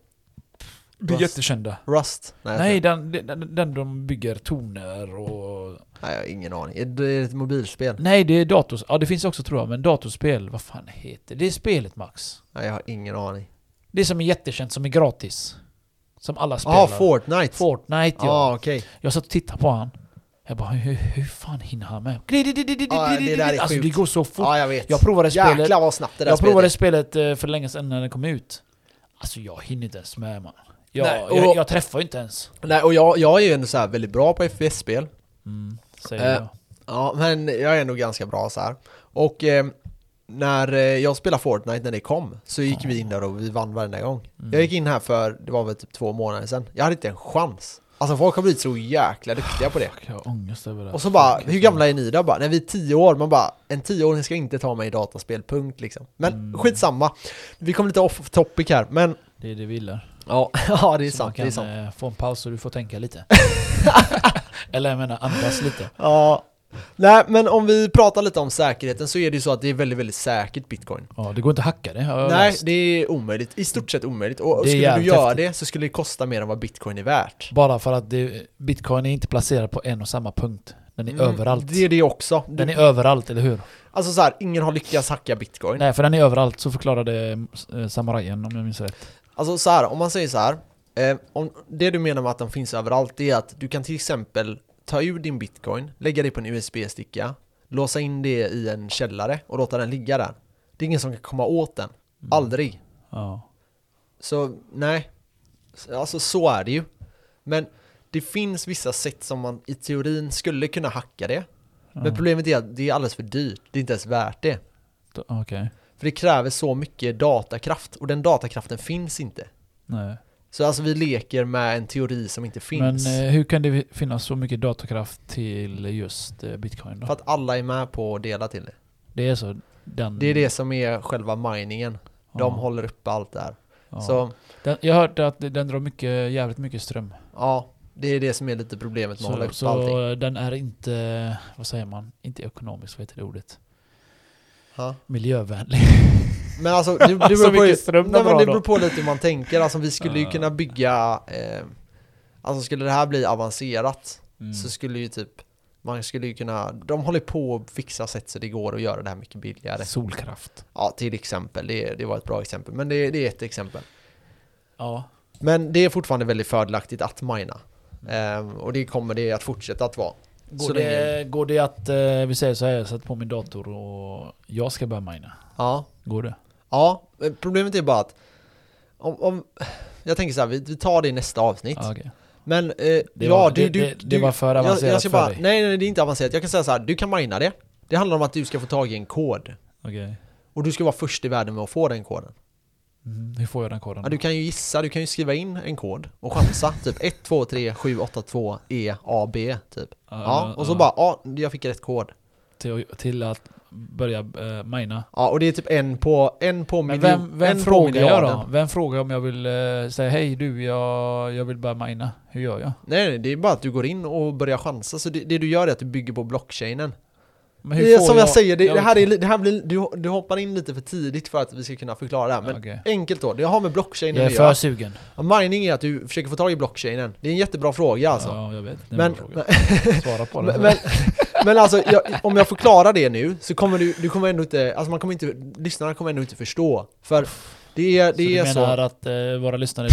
S2: Det
S1: Rust.
S2: jättekända.
S1: Rust. jag
S2: Nej,
S1: tror-
S2: den, den, den de bygger toner och...
S1: Nej, jag har ingen aning. Det är ett mobilspel.
S2: Nej, det är dators... Ja, det finns också tror jag, men datorspel, vad fan heter det? Det är spelet Max.
S1: Nej, jag har ingen aning.
S2: Det som är jättekänt, som är gratis. Som alla spelar.
S1: Ja, Ah, Fortnite. Ah.
S2: Fortnite ja.
S1: Ja, okej.
S2: Jag satt och tittade på han. Jag bara, hur, hur fan hinner han med?
S1: Ja, Ah, det där är
S2: Alltså det
S1: sjukt.
S2: går så fort.
S1: Ja, jag vet.
S2: Jag provade spelet.
S1: Jäklar vad snabbt det där
S2: Jag
S1: spelet
S2: provade spelet eh, för länge sedan när det kom ut. Alltså jag hinner inte ens med man. Jag,
S1: Nej, och-
S2: jag, jag träffar ju inte ens.
S1: Nej, och jag, jag är ju ändå så här väldigt bra på FPS-spel.
S2: Mm,
S1: Eh,
S2: säger jag.
S1: Ja, men jag är nog ganska bra så här. Och eh, när eh, jag spelade Fortnite när det kom så gick vi in där och vi vann varenda gång.
S2: Mm.
S1: Jag gick in här för, det var väl typ två månader sedan. Jag hade inte en chans. Alltså folk har blivit så jäkla duktiga på det.
S2: Fuck, Jag har ångest över det.
S1: Och så bara, hur gamla är ni då? Bara, när vi är tio år, man bara, en tioåring ska inte ta mig i dataspel, punkt liksom. Men
S2: Mm.
S1: skitsamma. Vi kom lite off topic här, men
S2: Det är det vi gillar.
S1: ja, [LAUGHS] ja det är
S2: Så man
S1: sant,
S2: kan
S1: det är sant.
S2: eh, få en paus så du får
S1: [LAUGHS]
S2: tänka lite. Eller jag menar andas lite.
S1: Ja. Nej, men om vi pratar lite om säkerheten så är det ju så att det är väldigt, väldigt säkert bitcoin.
S2: Ja, det går inte att hacka det. har jag
S1: Nej,
S2: läst.
S1: det är omöjligt. I stort sett omöjligt. Och
S2: Det är
S1: skulle du
S2: jävligt
S1: göra
S2: häftigt.
S1: det så skulle det kosta mer än vad bitcoin är värt.
S2: Bara för att det, bitcoin är inte placerad på en och samma punkt. Den är
S1: Mm,
S2: överallt.
S1: Det är det också. Du,
S2: Den är överallt, eller hur?
S1: Alltså så här, ingen har lyckats hacka bitcoin.
S2: Nej, för den är överallt, så förklarade eh, samurajen om jag minns rätt.
S1: Alltså så här, om man säger så här. Eh, om, det du menar med att den finns överallt det är att du kan till exempel ta ur din bitcoin, lägga det på en USB-sticka, låsa in det i en källare och låta den ligga där. Det är ingen som kan komma åt den.
S2: Mm.
S1: Aldrig.
S2: Ja.
S1: Så nej, alltså så är det ju. Men det det finns vissa sätt som man i teorin skulle kunna hacka det. Men
S2: Ja.
S1: problemet är att det är alldeles för dyrt. Det är inte ens värt det.
S2: Då- Okej.
S1: För det kräver så mycket datakraft och den datakraften finns inte.
S2: Nej.
S1: Så alltså vi leker med en teori som inte finns.
S2: Men eh, hur kan det finnas så mycket datorkraft till just eh, bitcoin då?
S1: för att alla är med på att dela till det.
S2: det är så den...
S1: Det är det som är själva miningen.
S2: Mm. Ja,
S1: De håller uppe allt det här.
S2: ja.
S1: Så
S2: Den, jag hörde att den drar mycket, jävligt mycket ström.
S1: ja, det är det som är lite problemet med att hålla
S2: Så,
S1: uppe allting.
S2: så den är inte, vad säger man, inte ekonomisk, vad heter det ordet?
S1: Ja.
S2: miljövänlig.
S1: Men alltså
S2: [LAUGHS]
S1: det, det,
S2: Så
S1: beror, på,
S2: mycket ström de
S1: nej, men
S2: drar
S1: det
S2: då.
S1: beror på lite hur man tänker. Alltså vi skulle ju
S2: Ja.
S1: kunna bygga eh, Alltså skulle det här bli avancerat
S2: Mm.
S1: så skulle ju typ man skulle ju kunna, de håller på att fixa sätt så det går att göra det här mycket billigare.
S2: Solkraft.
S1: Ja, till exempel. Det, det var ett bra exempel. Men det, det är ett exempel.
S2: Ja.
S1: Men det är fortfarande väldigt fördelaktigt att mina. Ehm, och det kommer det att fortsätta att vara.
S2: Går
S1: Så
S2: det, går det att, eh, vi säger så här, jag sätter på min dator och jag ska börja mina.
S1: Ja,
S2: Går det?
S1: ja. men Problemet är bara att om, om, jag tänker så här, vi, vi tar det i nästa avsnitt.
S2: Ja, Ah, okej.
S1: Men eh,
S2: Det,
S1: ja,
S2: var,
S1: du,
S2: det,
S1: du,
S2: det,
S1: du,
S2: det var för
S1: jag,
S2: avancerat
S1: jag ska
S2: för
S1: bara,
S2: dig.
S1: nej, nej, det är inte avancerat. Jag kan säga så här, du kan mina det. Det handlar om att du ska få tag i en kod.
S2: Okej.
S1: Och du ska vara först i världen med att få den koden.
S2: Mm, hur får jag den koden?
S1: Ja, du kan ju gissa, du kan ju skriva in en kod och chansa. typ 1, 2, 3, 7, 8, 2, E, A, B, typ. Ja, och så bara, ja, jag fick rätt kod.
S2: Till, till att börja eh, mina.
S1: Ja, och det är typ en på, en på
S2: Men
S1: miljon.
S2: vem, vem
S1: en på
S2: frågar jag då?
S1: miljarden.
S2: Vem frågar om jag vill eh, säga hej du, jag, jag vill börja mina. Hur gör jag?
S1: Nej, nej, det är bara att du går in och börjar chansa. Så det, det du gör är att du bygger på blockchainen.
S2: Men hur
S1: Det är
S2: får
S1: som jag, säger, det,
S2: jag-
S1: det här är, li- det här blir, du, du hoppar in lite för tidigt för att vi ska kunna förklara det här. Men
S2: Okej.
S1: enkelt då, det har med blockchainen
S2: Jag är
S1: att
S2: för
S1: göra.
S2: sugen.
S1: Ja, Mining är att du försöker få tag i blockchainen. Det är en jättebra fråga alltså.
S2: Ja, jag vet. Det är en
S1: men,
S2: bra fråga.
S1: men,
S2: Svara på
S1: [LAUGHS]
S2: den.
S1: men, men alltså, jag, om jag förklarar det nu så kommer du, du kommer ändå inte, alltså man kommer inte, lyssnarna kommer ändå inte förstå. För det är, det
S2: så
S1: är
S2: du
S1: så.
S2: menar att eh, våra lyssnare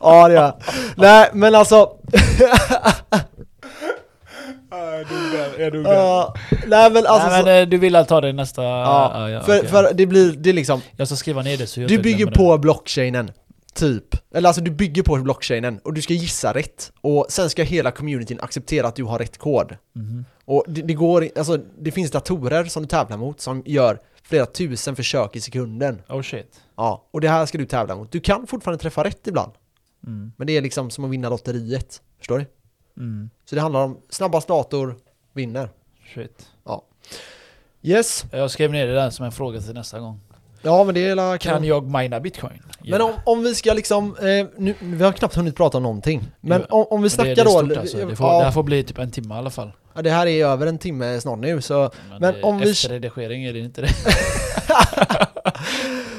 S1: Ja det gör jag. Nej men alltså,
S2: är
S1: Ah.
S2: dum
S1: ja, nej men [LAUGHS] alltså
S2: Nej,
S1: så,
S2: men, eh, du vill ta det nästa...
S1: ja, för,
S2: okej.
S1: för det blir, det är liksom,
S2: Jag ska skriva ner det så jag
S1: du
S2: inte
S1: bygger
S2: glömmer det.
S1: på blockchainen, typ. Eller alltså du bygger på blockchainen och du ska gissa rätt. Och sen ska hela communityn acceptera att du har rätt kod.
S2: Mhm.
S1: Och det, det går, alltså det finns datorer som du tävlar mot som gör flera tusen försök i sekunden.
S2: Oh shit.
S1: Ja, och det här ska du tävla mot. Du kan fortfarande träffa rätt ibland,
S2: Mm.
S1: men det är liksom som att vinna lotteriet. Förstår du?
S2: Mm.
S1: Så det handlar om snabbast dator vinner.
S2: Shit.
S1: Yes.
S2: Jag skrev ner det där som en fråga till nästa gång.
S1: Ja, men det är la
S2: Kan jag mina bitcoin?
S1: Men om, om vi ska liksom, eh, nu, vi har knappt hunnit prata om någonting. Men om, om vi
S2: det,
S1: snackar
S2: det är
S1: då...
S2: stort alltså. det, får,
S1: ja,
S2: det här får bli typ en timme i alla fall.
S1: Ja, det här är över en timme snart nu så... Men
S2: det,
S1: om vi-
S2: efter redigering eh, är det inte det.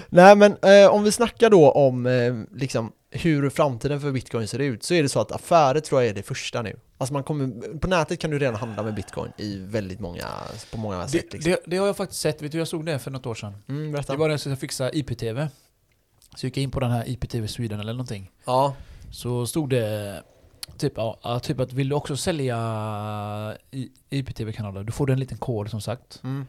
S1: Nej men eh, om vi snackar då om eh, liksom hur framtiden för bitcoin ser ut så är det så att affärer tror jag är det första nu. Alltså man kommer, på nätet kan du redan handla med bitcoin i väldigt många, på många sätt
S2: Det,
S1: liksom.
S2: det, det har jag faktiskt sett. Vet du, jag såg det för något år sedan.
S1: Mm,
S2: Det
S1: berätta.
S2: var när jag skulle fixa IPTV. Så gick jag in på den här IPTV Sweden eller någonting.
S1: Ja.
S2: Så stod det typ, ja, ja, typ att vill du också sälja i- IPTV-kanaler, då får du en liten kod som sagt.
S1: Mm.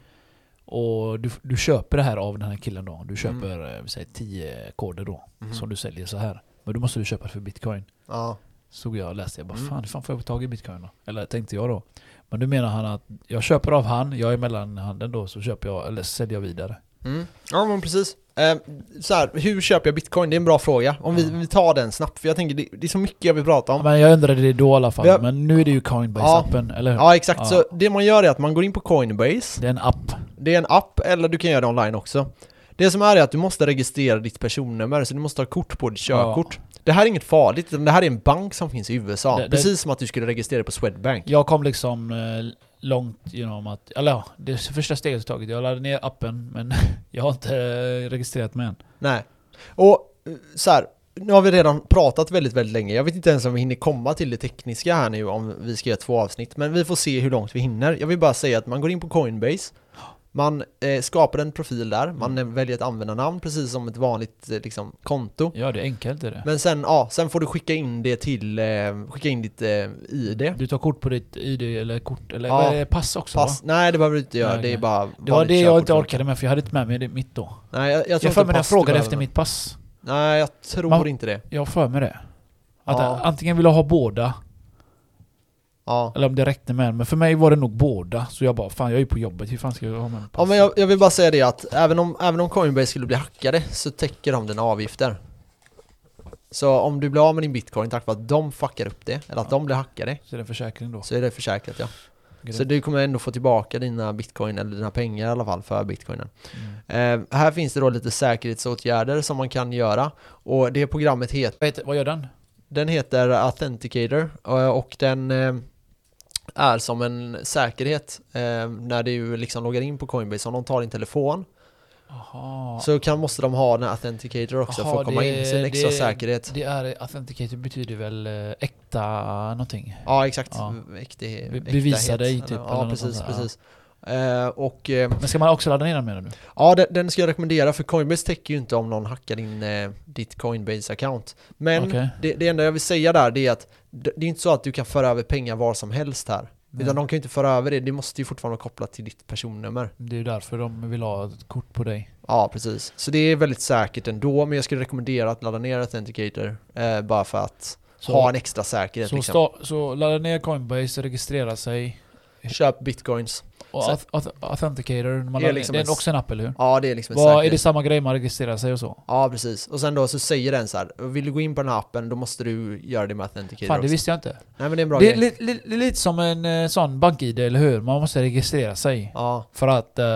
S2: Och du, du köper det här av den här killen då. Du köper eh, vi säger 10 koder då.
S1: Mhm.
S2: Som du säljer så här. Men då måste du köpa det för bitcoin.
S1: Ja.
S2: Såg jag och läste. Jag bara
S1: Mm.
S2: fan, hur fan får jag tag i bitcoin då? Eller tänkte jag då. Men nu menar han att jag köper av han, jag är mellanhanden då. Så köper jag, eller säljer jag vidare.
S1: Mm. Ja men precis. Eh, så här, hur köper jag bitcoin? Det är en bra fråga. Om vi, vi tar den snabbt för jag tänker det, det är så mycket jag vill prata om.
S2: Men jag undrade det då i alla fall.
S1: Vi har-
S2: Men nu är det ju Coinbase-appen, eller hur?
S1: Ja exakt,
S2: Ja.
S1: så det man gör är att man går in på Coinbase
S2: Det är en app.
S1: Det är en app, eller du kan göra det online också. Det som är är att du måste registrera ditt personnummer, så du måste ha kort på ditt körkort. Det här är inget farligt, utan det här är en bank som finns i USA.
S2: Det- det-
S1: Precis som att du skulle registrera dig på Swedbank.
S2: Jag kom liksom eh, långt genom att, eller ja, det är första steget jag tagit. Jag laddade ner appen men [LAUGHS] jag har inte eh, registrerat mig än.
S1: Nej. Och eh, så här, nu har vi redan pratat väldigt, väldigt länge. Jag vet inte ens om vi hinner komma till det tekniska här nu om vi ska göra två avsnitt, men vi får se hur långt vi hinner. Jag vill bara säga att man går in på Coinbase, man eh, skapar en profil där, man
S2: Mm.
S1: eh, väljer ett användarnamn precis som ett vanligt eh, liksom, konto.
S2: Ja, det är enkelt är det.
S1: Men sen, ja, sen får du skicka in det till, eh, skicka in ditt eh, ID.
S2: Du tar kort på ditt ID eller kort, eller
S1: Ja.
S2: vad är det, pass också
S1: Pass.
S2: va?
S1: Nej, det behöver du inte göra.
S2: Nej,
S1: Det är
S2: okej.
S1: bara
S2: Det var
S1: vanligt
S2: det jag inte
S1: körkort.
S2: orkade med för jag hade inte med mig det mitt då.
S1: Nej, jag, jag
S2: Jag,
S1: tror
S2: för
S1: inte
S2: mig jag
S1: pass
S2: frågade
S1: behöver
S2: efter
S1: man.
S2: mitt pass.
S1: Nej, jag tror
S2: Man-
S1: inte det.
S2: Jag har för mig det. Att
S1: Ja.
S2: Antingen vill jag ha båda,
S1: Ja.
S2: eller om det räckte med en. Men för mig var det nog båda. Så jag bara, fan jag är ju på jobbet, hur fan ska jag ha med en
S1: Ja
S2: pass?
S1: men jag, jag vill bara säga det att även om, även om Coinbase skulle bli hackade så täcker de dina avgifter. Så om du blir av med din bitcoin tack vare att de fuckar upp det, eller att de blir hackade,
S2: Så är det en försäkring då.
S1: så är det försäkrat ja.
S2: Grymt.
S1: Så du kommer ändå få tillbaka dina bitcoin, eller dina pengar i alla fall, för bitcoinen.
S2: Mm.
S1: Eh, här finns det då lite säkerhetsåtgärder som man kan göra. Och det programmet heter,
S2: Vad heter- Vad gör den?
S1: den heter Authenticator eh, och den eh, är som en säkerhet eh, när du liksom loggar in på Coinbase. Om de tar din telefon
S2: Jaha.
S1: så kan, måste de ha den här Authenticator också
S2: Jaha,
S1: för att komma
S2: det-
S1: in, sin extra
S2: det-
S1: säkerhet.
S2: Det är authenticated betyder väl eh, äkta någonting?
S1: Ja, exakt.
S2: Ja.
S1: Äktighet.
S2: Be- bevisa
S1: äktahet.
S2: dig, typ, eller
S1: Ja,
S2: något
S1: precis,
S2: sånt där, ja.
S1: precis. Eh, och eh,
S2: Men ska man också ladda ner den menar du?
S1: Ja, den, den ska jag rekommendera för Coinbase täcker ju inte om någon hackar din, eh, ditt Coinbase-account. Men
S2: Okej.
S1: det, det enda jag vill säga där det är att det, det är inte så att du kan föra över pengar var som helst här. Utan de kan ju inte föra över det, det måste ju fortfarande vara kopplat till ditt personnummer.
S2: Det är ju därför de vill ha ett kort på dig.
S1: Ja, precis. Så det är väldigt säkert ändå, men jag skulle rekommendera att ladda ner Authenticator eh, bara för att
S2: Så,
S1: ha en extra säkerhet.
S2: så,
S1: Liksom.
S2: sta- så ladda ner Coinbase, registrera sig.
S1: Köp bitcoins.
S2: Och
S1: Så-
S2: auth- auth- Authenticator, man
S1: Det är
S2: laddar
S1: liksom
S2: ner.
S1: en
S2: det är också en app eller hur?
S1: Ja, det är liksom en
S2: Vad, är
S1: säkerhet.
S2: det samma grej man registrerar sig och så?
S1: Ja, precis. Och sen då så säger den så här, vill du gå in på den här appen, då måste du göra det med Authenticator
S2: Fan det
S1: också.
S2: visste jag inte.
S1: Nej, men det är en bra
S2: Det är
S1: grej.
S2: li, li, li, lite som en eh, sån bank-id, eller hur? Man måste registrera sig.
S1: Ja.
S2: För att eh,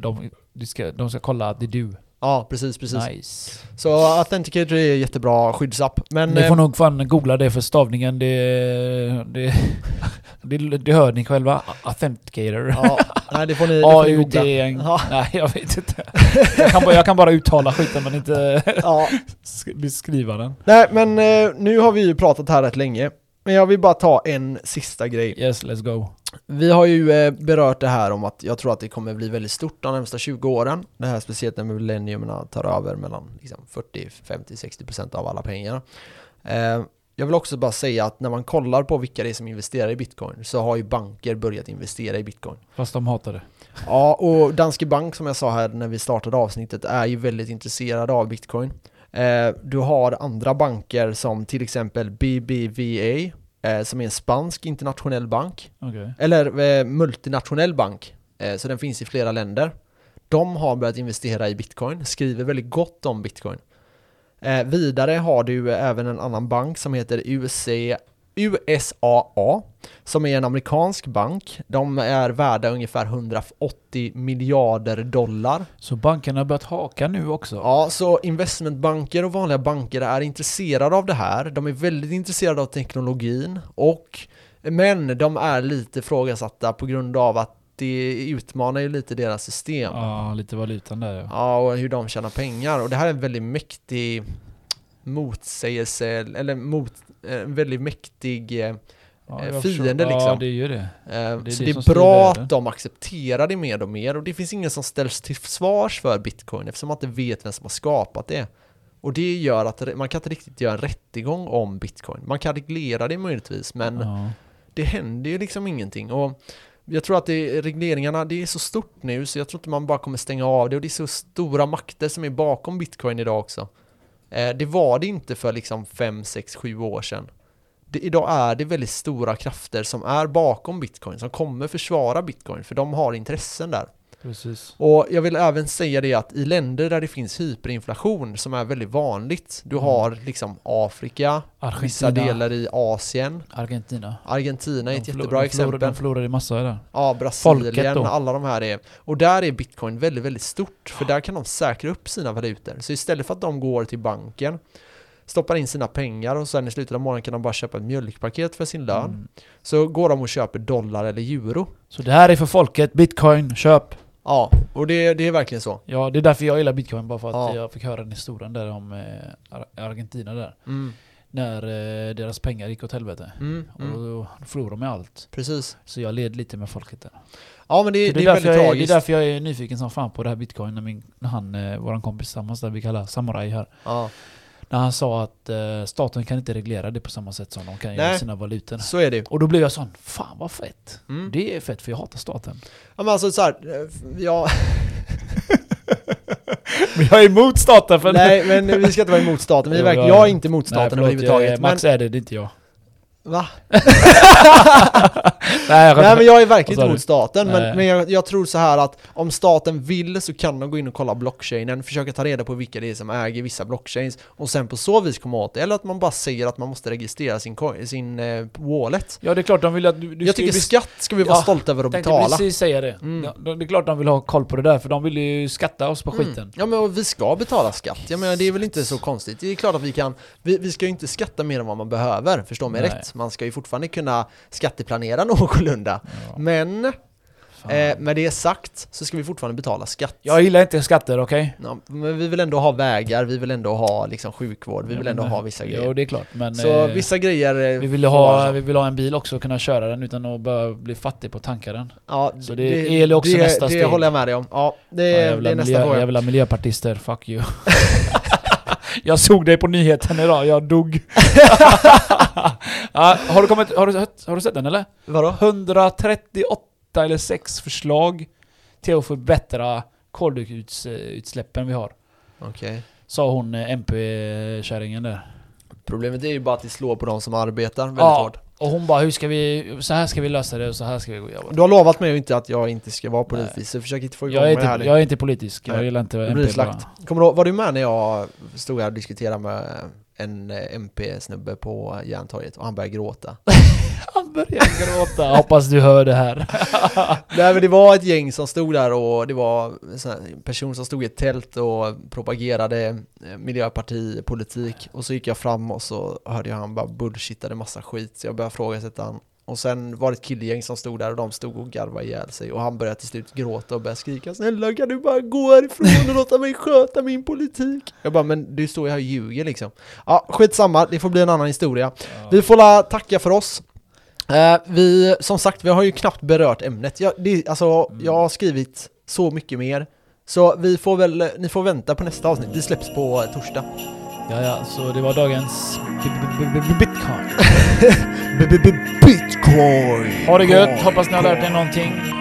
S2: de, de, ska, de ska kolla att det är du.
S1: Ja, precis, precis.
S2: Nice.
S1: Så Authenticator är en jättebra skyddsapp. Men
S2: ni
S1: eh,
S2: får nog fan googla det för stavningen. Det, det, [LAUGHS] det, det hör ni själva. Authenticator.
S1: ja, nej, det får
S2: [LAUGHS]
S1: ni, det får ni
S2: AUD.
S1: googla. Ja.
S2: Nej, jag vet inte. Jag kan bara, jag kan bara uttala skiten men inte [LAUGHS]
S1: Ja.
S2: sk- beskriva den.
S1: Nej, men eh, nu har vi ju pratat här rätt länge. Men jag vill bara ta en sista grej.
S2: Yes, let's go.
S1: Vi har ju eh, berört det här om att jag tror att det kommer bli väldigt stort de närmsta 20 åren. Det här speciellt när millenniumerna tar över mellan liksom, 40, 50, 60 procent av alla pengar. Eh, jag vill också bara säga att när man kollar på vilka det är som investerar i bitcoin så har ju banker börjat investera i bitcoin.
S2: Fast de hatar det.
S1: Ja, och Danske Bank som jag sa här när vi startade avsnittet är ju väldigt intresserade av bitcoin. Eh, Du har andra banker som till exempel BBVA eh, som är en spansk internationell bank,
S2: Okej.
S1: eller eh, multinationell bank, eh, så den finns i flera länder. De har börjat investera i bitcoin, skriver väldigt gott om bitcoin. Eh, Vidare har du även en annan bank som heter UC, USAA som är en amerikansk bank. De är värda ungefär 180 miljarder dollar.
S2: Så bankerna har börjat haka nu också?
S1: Ja, så investmentbanker och vanliga banker är intresserade av det här. De är väldigt intresserade av teknologin och men de är lite ifrågasatta på grund av att det utmanar ju lite deras system. Ja.
S2: Ja, lite valutan där ja.
S1: och hur de tjänar pengar. Och det här är en väldigt mäktig motsägelse, eller mot, eh, en väldigt mäktig eh,
S2: ja
S1: Eh,
S2: jag
S1: fiende
S2: förstår. Ja,
S1: liksom.
S2: det är ju det.
S1: Eh, så
S2: det
S1: det
S2: som
S1: är
S2: styr
S1: bra
S2: världen.
S1: att de accepterar det mer och mer och det finns ingen som ställs till svars för bitcoin eftersom man inte vet vem som har skapat det. Och det gör att re- man kan inte riktigt göra en rättegång om bitcoin. Man kan reglera det möjligtvis men
S2: Ja.
S1: det händer ju liksom ingenting. Och jag tror att det, regleringarna, det är så stort nu så jag tror inte man bara kommer stänga av det och det är så stora makter som är bakom bitcoin idag också. Eh, det var det inte för liksom 5, 6, 7 år sedan. Det, idag är det väldigt stora krafter som är bakom bitcoin, som kommer försvara bitcoin för de har intressen där.
S2: Precis.
S1: Och jag vill även säga det att i länder där det finns hyperinflation som är väldigt vanligt, du har liksom Afrika, vissa
S2: Argentina.
S1: delar i Asien,
S2: Argentina.
S1: Argentina är ett
S2: De förlor-
S1: jättebra
S2: de förlor-
S1: exempel.
S2: De förlorade massa där.
S1: Ja,
S2: Folket
S1: Brasilien
S2: då?
S1: och alla de här är. Och där är bitcoin väldigt, väldigt stort, för där kan de säkra upp sina valutor. Så istället för att de går till banken, stoppar in sina pengar och sen i slutet av månaden kan de bara köpa ett mjölkpaket för sin lön,
S2: Mm.
S1: så går de och köper dollar eller euro.
S2: Så det här är för folket. Bitcoin, köp!
S1: Ja, och det, det är verkligen så.
S2: Ja, det är därför jag gillar bitcoin. Bara för att
S1: Ja.
S2: jag fick höra den historien där om eh, Ar- Argentina där. När eh, deras pengar gick åt helvete.
S1: Mm,
S2: Och
S1: mm,
S2: då förlorade de allt.
S1: precis.
S2: Så jag led lite med folket där.
S1: Ja, men det,
S2: Så
S1: det,
S2: det, är
S1: är väldigt
S2: därför jag är, det är
S1: tragiskt.
S2: därför jag är nyfiken som fan på det här bitcoin. När, min, när han, eh, våran kompis tillsammans där vi kallar Samurai här.
S1: ja.
S2: När han sa att eh, staten kan inte reglera det på samma sätt som de kan
S1: Nej.
S2: göra sina valutor.
S1: Så är det ju.
S2: Och då blev jag sån, fan vad fett.
S1: Mm.
S2: Det är fett för jag hatar staten. [LAUGHS]
S1: Ja, [LAUGHS] men alltså så här, eh, ja,
S2: Men jag är emot staten för
S1: Nej men vi ska inte vara emot staten, vi är
S2: Jo,
S1: verkligen,
S2: jag-
S1: jag är inte emot [LAUGHS] staten
S2: förlåt, jag
S1: överhuvudtaget.
S2: är- Max är det, det är
S1: [LAUGHS]
S2: inte jag. [LAUGHS]
S1: men, va?
S2: Nej, jag
S1: Nej men jag är verkligen
S2: Vad sa
S1: inte
S2: du?
S1: emot staten, men,
S2: Nej.
S1: men jag, jag tror så här att om staten vill så kan de gå in och kolla blockchainen, försöka ta reda på vilka det är som äger vissa blockchains och sen på så vis komma åt det. Eller att man bara säger att man måste registrera sin, coin- sin eh, wallet.
S2: Ja, det är klart de vill att du, du
S1: jag
S2: ska ju
S1: tycker
S2: bes-
S1: skatt ska vi vara
S2: Ja,
S1: stolta över att
S2: tänkte
S1: betala.
S2: precis säga det.
S1: Mm.
S2: Ja, de- det är klart de vill ha koll på det där, för de vill ju skatta oss på skiten.
S1: Mm. Ja men och vi ska betala skatt, jag menar det är väl inte så konstigt. Det är klart att vi kan, vi, vi ska ju inte skatta mer än vad man behöver, förstå mig
S2: Nej.
S1: rätt. Man ska ju fortfarande kunna skatteplanera [LAUGHS] någorlunda.
S2: Ja,
S1: Men
S2: fan.
S1: eh, med det sagt så ska vi fortfarande betala skatt.
S2: jag gillar inte skatter, okej?
S1: Ja, men vi vill ändå ha vägar, vi vill ändå ha liksom, sjukvård, vi vill ändå ha vissa
S2: Jo,
S1: grejer.
S2: det är klart. Men,
S1: Så
S2: eh,
S1: vissa grejer... eh,
S2: vi, vill
S1: får vara
S2: ha,
S1: så.
S2: vi vill ha en bil också och kunna köra den utan att behöva bli fattig på att tanka den.
S1: Ja,
S2: så det är el är också
S1: det,
S2: nästa
S1: det
S2: steg.
S1: håller jag med dig om. Ja, det,
S2: Ja,
S1: är-
S2: jävla,
S1: det är nästa
S2: miljö,
S1: fråga.
S2: jävla miljöpartister, fuck you. [LAUGHS] jag såg dig på nyheten idag, jag [LAUGHS] dog. ja, har, du kommit, har, du, hört- har du sett den eller?
S1: Vadå?
S2: 138 eller 6 förslag till att förbättra koldioxidutsläppen vi har.
S1: Okej.
S2: Sa hon eh, MP-kärringen där.
S1: Problemet är ju bara att det slår på de som arbetar väldigt
S2: Ja.
S1: hårt.
S2: Och hon bara, hur ska vi, så här ska vi lösa det och så här ska vi gå. Jag, bara,
S1: Du har lovat mig inte att jag inte ska vara politisk,
S2: Nej.
S1: så försök inte få igång
S2: jag, är,
S1: mig här
S2: inte,
S1: nu.
S2: jag är inte politisk, jag
S1: Nej.
S2: gillar inte
S1: Det blir
S2: MP bara.
S1: slakt. Kommer du, ihåg- var du med när jag stod här och diskuterade med en eh, MP-snubbe på Järntorget och han började gråta?
S2: Han börjar gråta, hoppas du hör det här.
S1: [LAUGHS] Nej men det var ett gäng som stod där och det var en sån här person som stod i ett tält och propagerade eh, miljöpartipolitik och så gick jag fram och så hörde jag han bara bullshittade massa skit så jag började ifrågasätta han och sen var det ett killgäng som stod där och de stod och garvade ihjäl sig och han började till slut gråta och började skrika Snälla kan du bara gå härifrån och låta mig sköta min politik? Jag bara men du står ju här och ljuger liksom Ja skitsamma, det får bli en annan historia vi får la tacka för oss. Eh, vi, som sagt, vi har ju knappt berört ämnet. Jag, det, alltså, jag har skrivit så mycket mer. Så vi får väl, ni får vänta på nästa avsnitt. Det släpps på eh, torsdag.
S2: Ja, ja, så det var dagens b- b- b- b- bitcoin.
S1: B- b- b- Bitcoin!
S2: Ha det gött, hoppas ni har lärt er någonting.